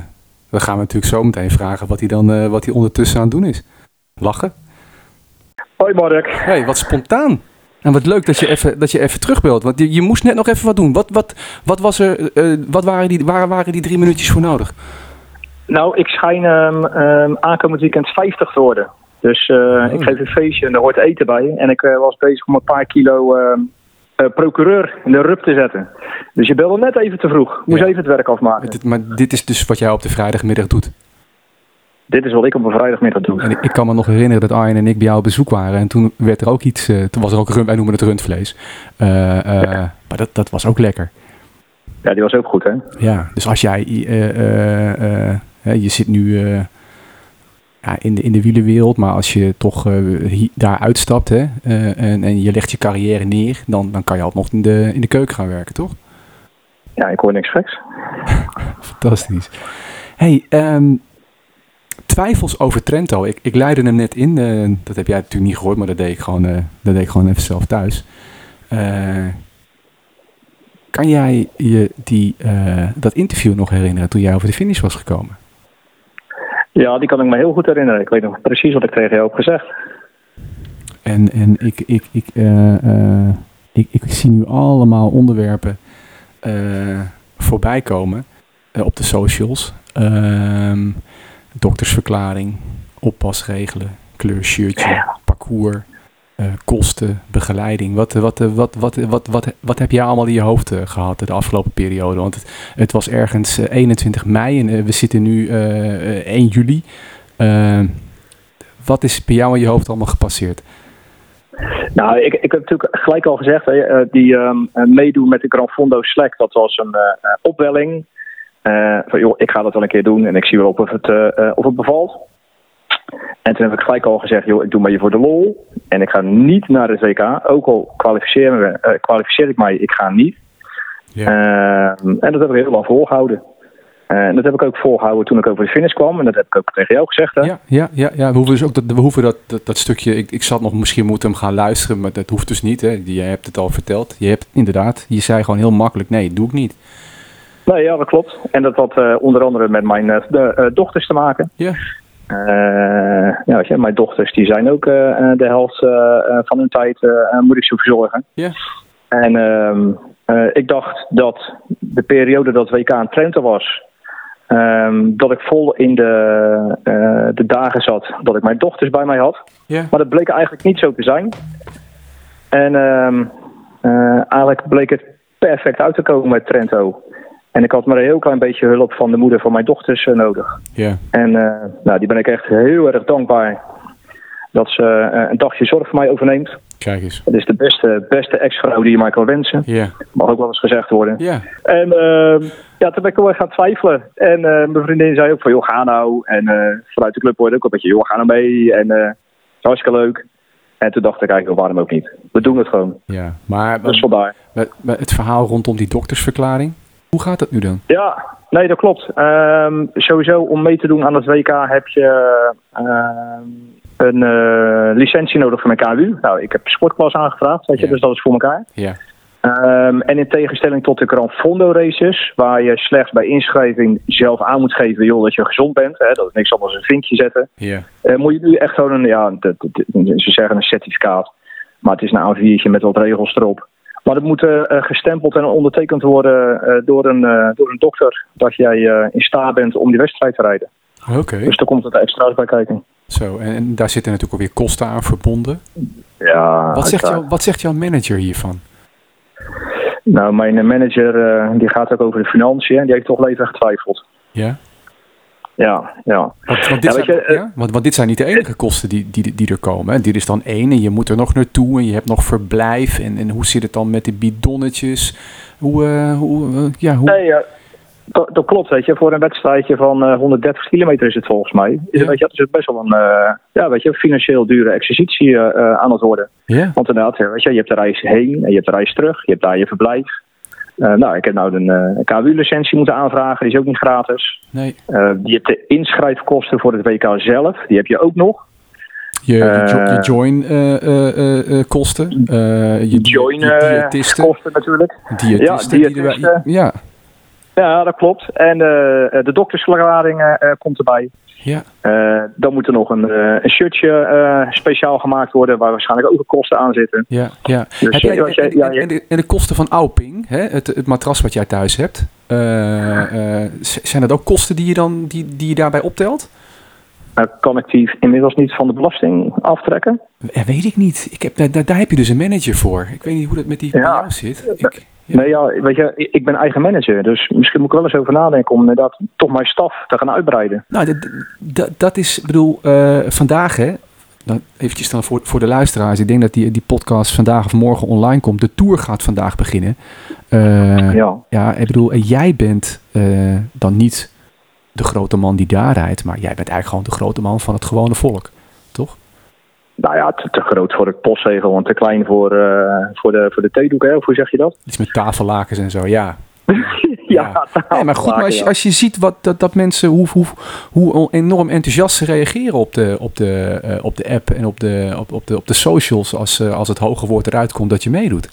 Speaker 2: we gaan hem natuurlijk zo meteen vragen wat hij dan eh, wat hij ondertussen aan het doen is. Lachen.
Speaker 12: Hoi, Mark.
Speaker 2: Hé, hey, wat spontaan. En wat leuk dat je even, dat je even terugbelt. Want je, je moest net nog even wat doen. Wat, wat, wat, was er, eh, wat waren, die, waar waren die drie minuutjes voor nodig?
Speaker 12: Nou, ik schijn ehm, ehm, aankomend weekend 50 te worden. Dus eh,
Speaker 2: Hmm.
Speaker 12: ik geef een feestje en daar hoort eten bij. En ik eh, was bezig om een paar kilo ehm, eh, procureur in de rup te zetten. Dus je belde net even te vroeg. Moest
Speaker 2: Ja.
Speaker 12: even het werk afmaken.
Speaker 2: Dit, maar dit is dus wat jij op de vrijdagmiddag doet.
Speaker 12: Dit is wat ik op een vrijdagmiddag doe.
Speaker 2: En ik, ik kan me nog herinneren dat Arjen en ik bij jou op bezoek waren. En toen werd er ook iets. eh, toen was er ook rund, wij noemen het rundvlees. Eh, eh, Maar dat, dat was ook lekker.
Speaker 12: Ja, die was ook goed, hè?
Speaker 2: Ja, dus als jij, eh, eh, eh, hè, je zit nu eh, ja, in, de, in de wielenwereld, maar als je toch eh, hi- daar uitstapt hè, eh, en, en je legt je carrière neer, dan, dan kan je alsnog in de, in de keuken gaan werken, toch?
Speaker 12: Ja, ik hoor niks geks.
Speaker 2: Fantastisch. Hey, ehm, twijfels over Trento. Ik, ik leidde hem net in. eh, dat heb jij natuurlijk niet gehoord, maar dat deed ik gewoon, eh, dat deed ik gewoon even zelf thuis. Eh, kan jij je die, eh, dat interview nog herinneren toen jij over de finish was gekomen?
Speaker 12: Ja, die kan ik me heel goed herinneren. Ik weet nog precies wat ik tegen jou heb gezegd.
Speaker 2: En, en ik, ik, ik, eh, eh, ik, ik zie nu allemaal onderwerpen eh, voorbij komen eh, op de socials. Ehm, doktersverklaring, oppasregelen, kleurshirtje, parcours, eh, kosten, begeleiding. Wat, eh, wat, eh, wat, wat, eh, wat, wat, wat heb jij allemaal in je hoofd eh, gehad de afgelopen periode? Want het, het was ergens eh, 21 mei en eh, we zitten nu eh, eh, 1 juli. Ehm, wat is bij jou in je hoofd allemaal gepasseerd?
Speaker 12: Nou, ik, ik heb natuurlijk gelijk al gezegd, hè, eh, die ehm, eh, meedoen met de Gran Fondo Slack, dat was een eh, eh, opwelling. Eh, van joh, ik ga dat wel een keer doen en ik zie wel of het, eh, eh, of het bevalt. En toen heb ik gelijk al gezegd, joh, ik doe maar je voor de lol. En ik ga niet naar het WK, ook al kwalificeer, me, eh, kwalificeer ik mij, ik ga niet.
Speaker 2: Ja.
Speaker 12: Ehm, en dat heb ik heel lang volgehouden. Eh, en dat heb ik ook volgehouden toen ik over de finish kwam. En dat heb ik ook tegen jou gezegd. Hè?
Speaker 2: Ja, ja, ja, we hoeven dus ook dat, we hoeven dat, dat, dat stukje. Ik, ik zat nog misschien moeten hem gaan luisteren, maar dat hoeft dus niet. Hè. Jij hebt het al verteld. Je hebt inderdaad, je zei gewoon heel makkelijk: nee, doe ik niet.
Speaker 12: Nee, ja, dat klopt. En dat had eh, onder andere met mijn eh, de, eh, dochters te maken.
Speaker 2: Ja.
Speaker 12: Eh, ja, weet je, mijn dochters die zijn ook eh, eh, de helft eh, eh, van hun tijd, eh, eh, moet ik ze verzorgen.
Speaker 2: Ja.
Speaker 12: En ehm, eh, ik dacht dat de periode dat WK aan Trento was, ehm, dat ik vol in de, eh, de dagen zat dat ik mijn dochters bij mij had.
Speaker 2: Ja.
Speaker 12: Maar dat bleek eigenlijk niet zo te zijn. En ehm, eh, eigenlijk bleek het perfect uit te komen met Trento. En ik had maar een heel klein beetje hulp van de moeder van mijn dochters eh, nodig.
Speaker 2: Ja.
Speaker 12: En eh, nou, die ben ik echt heel erg dankbaar dat ze eh, een dagje zorg voor mij overneemt.
Speaker 2: Kijk eens.
Speaker 12: Dat is de beste, beste ex-vrouw die je mij kan wensen.
Speaker 2: Ja.
Speaker 12: Mag ook wel eens gezegd worden.
Speaker 2: Ja.
Speaker 12: En ehm, ja, toen ben ik heel erg gaan twijfelen. En eh, mijn vriendin zei ook van, joh, ga nou. En eh, vanuit de club hoorde ik ook een beetje, joh, ga nou mee. En eh, hartstikke leuk. En toen dacht ik eigenlijk, waarom ook niet? We doen het gewoon.
Speaker 2: Ja, maar,
Speaker 12: Dus vandaar.
Speaker 2: maar- maar het verhaal rondom die doktersverklaring. Hoe gaat dat nu dan?
Speaker 12: Ja, nee, dat klopt. Ehm, sowieso om mee te doen aan het WK heb je ehm, een eh, licentie nodig van mijn KU. Nou, ik heb sportklas aangevraagd, weet je, dus dat is voor elkaar.
Speaker 2: Ja.
Speaker 12: Ehm, en in tegenstelling tot de Gran Fondo races, waar je slechts bij inschrijving zelf aan moet geven joh, dat je gezond bent, hè, dat is niks anders dan een vinkje zetten,
Speaker 2: Ja.
Speaker 12: eh, moet je nu echt gewoon een, ja, dat- dat- dat- ze zeggen een certificaat, maar het is een A4'tje met wat regels erop. Maar dat moet eh, eh, gestempeld en ondertekend worden eh, door, een, eh, door een dokter, dat jij eh, in staat bent om die wedstrijd te rijden.
Speaker 2: Oké.
Speaker 12: Dus daar komt het extra's bij kijken.
Speaker 2: Zo, en, en daar zitten natuurlijk ook weer kosten aan verbonden.
Speaker 12: Ja,
Speaker 2: Wat zegt,
Speaker 12: uiteraard.
Speaker 2: jou, wat zegt jouw manager hiervan?
Speaker 12: Nou, mijn eh, manager eh, die gaat ook over de financiën en die heeft toch even getwijfeld.
Speaker 2: Ja?
Speaker 12: Ja, ja.
Speaker 2: Want, want, dit
Speaker 12: Ja, weet
Speaker 2: zijn,
Speaker 12: je, eh,
Speaker 2: ja? Want, want dit zijn niet de enige kosten die, die, die er komen. Hè? Dit is dan één en je moet er nog naartoe en je hebt nog verblijf. En, en hoe zit het dan met de bidonnetjes? Hoe, eh, hoe, eh, ja, hoe...
Speaker 12: Nee, ja, dat, dat klopt, weet je. Voor een wedstrijdje van eh, 130 kilometer is het volgens mij. Is, het, weet je, dat is best wel een eh, ja, weet je, financieel dure exercitie eh, eh, aan het worden.
Speaker 2: Ja.
Speaker 12: Want inderdaad, eh, weet je, je hebt de reis heen en je hebt de reis terug. Je hebt daar je verblijf. Eh, nou, ik heb nou een eh, KWU-licentie moeten aanvragen. Die is ook niet gratis.
Speaker 2: Nee.
Speaker 12: Eh, je hebt de inschrijfkosten voor het WK zelf. Die heb je ook nog.
Speaker 2: Je, je, jo-
Speaker 12: Eh,
Speaker 2: je join eh, eh, eh, eh, kosten. eh, je di-
Speaker 12: join,
Speaker 2: je
Speaker 12: eh,
Speaker 2: diëtisten.
Speaker 12: kosten natuurlijk.
Speaker 2: Diëtisten.
Speaker 12: Ja,
Speaker 2: die erbij-
Speaker 12: diëtisten.
Speaker 2: ja.
Speaker 12: Ja, dat klopt. En eh, eh, de doktersverklaring eh, eh, komt erbij.
Speaker 2: Ja.
Speaker 12: Eh, dan moet er nog een, eh, een shirtje eh, speciaal gemaakt worden, waar waarschijnlijk ook de kosten aan zitten.
Speaker 2: Ja, ja.
Speaker 12: Dus,
Speaker 2: Heb jij-
Speaker 12: eh, wat jij-
Speaker 2: en,
Speaker 12: ja,
Speaker 2: en- en de, en de kosten van Auping, hè? Het, het matras wat jij thuis hebt, eh, eh, z- zijn dat ook kosten die je, dan, die, die je daarbij optelt?
Speaker 12: Nou, kan ik die inmiddels niet van de belasting aftrekken?
Speaker 2: Eh, weet ik niet. Ik heb, daar, daar heb je dus een manager voor. Ik weet niet hoe dat met die bij jou zit. Ik,
Speaker 12: Nee, ja, weet je, ik ik ben eigen manager, dus misschien moet ik wel eens over nadenken om inderdaad toch mijn staf te gaan uitbreiden.
Speaker 2: nou, dat, dat, dat is, ik bedoel, eh, vandaag hè, dan eventjes dan voor, voor de luisteraars. Ik denk dat die, die podcast vandaag of morgen online komt. De tour gaat vandaag beginnen. Eh,
Speaker 12: ja.
Speaker 2: ik bedoel, eh, jij bent eh, dan niet de grote man die daar rijdt, maar jij bent eigenlijk gewoon de grote man van het gewone volk, toch?
Speaker 12: Nou ja, te, te groot voor het postzegel en te klein voor, eh, voor, de, voor de theedoek, hè? Of hoe zeg je dat?
Speaker 2: Iets met tafellakens en zo, ja.
Speaker 12: Ja,
Speaker 2: Nee, maar goed, maar als, je- als je ziet wat, dat, dat mensen hoe, hoe, hoe enorm enthousiast ze reageren op de, op de, eh, op de app en op de, op, op de, op de socials als, eh, als het hoge woord eruit komt dat je meedoet.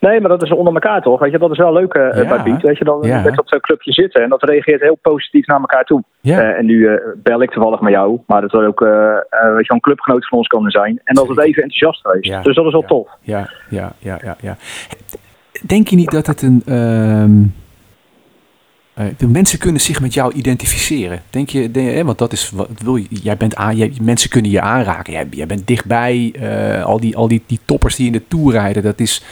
Speaker 12: Nee, maar dat is onder elkaar toch? Weet je, dat is wel leuk eh,
Speaker 2: Ja.
Speaker 12: bij Piet. Weet je, dan
Speaker 2: Ja.
Speaker 12: met dat eh, clubje zitten en dat reageert heel positief naar elkaar toe.
Speaker 2: Ja.
Speaker 12: Eh, en nu eh, bel ik toevallig met jou, maar dat zou ook eh eh, weet je, een clubgenoot van ons kunnen zijn. En dat het even enthousiast geweest.
Speaker 2: Ja.
Speaker 12: Dus dat is wel tof.
Speaker 2: Ja, ja, ja, ja, ja. Denk je niet dat het een. ehm, eh, de mensen kunnen zich met jou identificeren. Denk je, de- hè, want dat is wat wil je. Jij bent aan, jij, mensen kunnen je aanraken. Jij, jij bent dichtbij. eh, al die, al die, die toppers die in de tour rijden, dat is.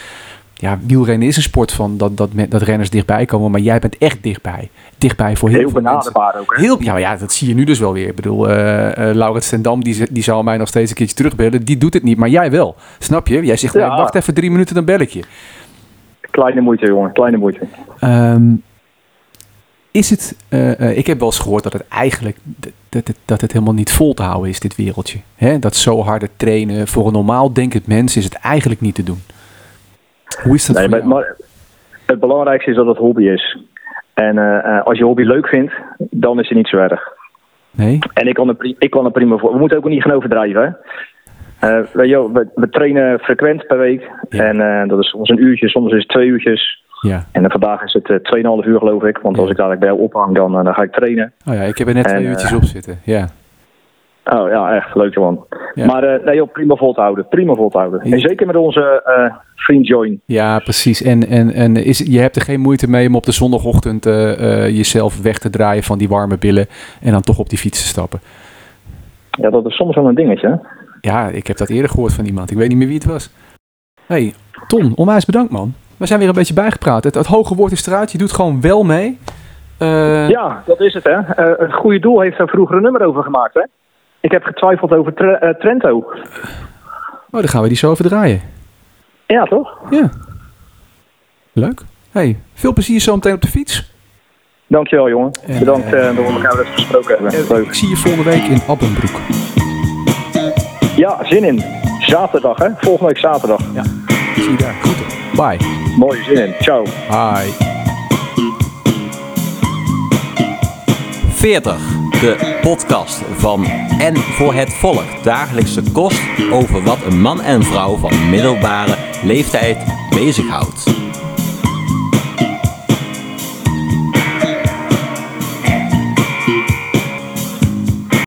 Speaker 2: Ja, wielrennen is een sport van dat, dat, men- dat renners dichtbij komen, maar jij bent echt dichtbij. Dichtbij voor heel,
Speaker 12: Heel
Speaker 2: veel mensen.
Speaker 12: benaderbaar ook, hè?
Speaker 2: Heel, ja, maar ja, dat zie je nu dus wel weer. Ik bedoel, eh eh Laurens ten Dam, die, z- die zou mij nog steeds een keertje terugbellen. Die doet het niet, maar jij wel. Snap je? Jij zegt,
Speaker 12: Ja.
Speaker 2: nee, wacht even drie minuten, dan bel ik je.
Speaker 12: Kleine moeite, jongen, kleine moeite.
Speaker 2: Ehm, is het, eh, eh, ik heb wel eens gehoord dat het eigenlijk dat, dat, het- dat het helemaal niet vol te houden is, dit wereldje. Hè? Dat zo harde trainen, voor een normaal denkend mens is het eigenlijk niet te doen. Hoe is dat
Speaker 12: Nee,
Speaker 2: voor
Speaker 12: maar,
Speaker 2: jou?
Speaker 12: maar het belangrijkste is dat het hobby is. En eh, als je hobby leuk vindt, dan is het niet zo erg.
Speaker 2: Nee?
Speaker 12: En ik kan er, pri- ik kan er prima voor. We moeten ook niet gaan overdrijven. Hè? Eh, weet je wel, we, we trainen frequent per week. En eh, dat is soms een uurtje, soms is het twee uurtjes.
Speaker 2: Ja.
Speaker 12: En dan vandaag is het eh 2,5 uur geloof ik. Want als ik dadelijk bij jou ophang, dan, eh, dan ga ik trainen.
Speaker 2: Oh ja, ik heb er net
Speaker 12: En,
Speaker 2: twee uurtjes
Speaker 12: eh,
Speaker 2: op zitten. Ja.
Speaker 12: Oh ja, echt. Leuk man. Maar eh, nee joh, prima vol te houden. Prima vol te houden. En zeker met onze eh, vriend Join.
Speaker 2: Ja, precies. En, en, en is, je hebt er geen moeite mee om op de zondagochtend eh, eh, jezelf weg te draaien van die warme billen en dan toch op die fiets te stappen.
Speaker 12: Ja, dat is soms wel een dingetje. hè?
Speaker 2: Ja, ik heb dat eerder gehoord van iemand. Ik weet niet meer wie het was. hey, Ton, onwijs bedankt man. We zijn weer een beetje bijgepraat. Het, het hoge woord is eruit. Je doet gewoon wel mee. Eh,
Speaker 12: Ja, dat is het hè. Eh, een goede doel heeft daar vroeger een nummer over gemaakt hè. Ik heb getwijfeld over Tre- eh, Trento.
Speaker 2: Oh, dan gaan we die zo even draaien.
Speaker 12: Ja, toch?
Speaker 2: Ja. Leuk. hey, veel plezier zo meteen op de fiets.
Speaker 12: Dankjewel jongen. Bedankt eh, dat we elkaar weer eens gesproken hebben. Leuk.
Speaker 2: Ik zie je volgende week in Abbenbroek.
Speaker 12: Ja, zin in. Zaterdag hè. Volgende week zaterdag.
Speaker 2: Ja, zie je daar. Goed. Bye.
Speaker 12: Mooi, zin in. Ciao.
Speaker 2: Bye.
Speaker 1: 40, de podcast van En voor het Volk. Dagelijkse kost over wat een man en vrouw van middelbare leeftijd bezighoudt.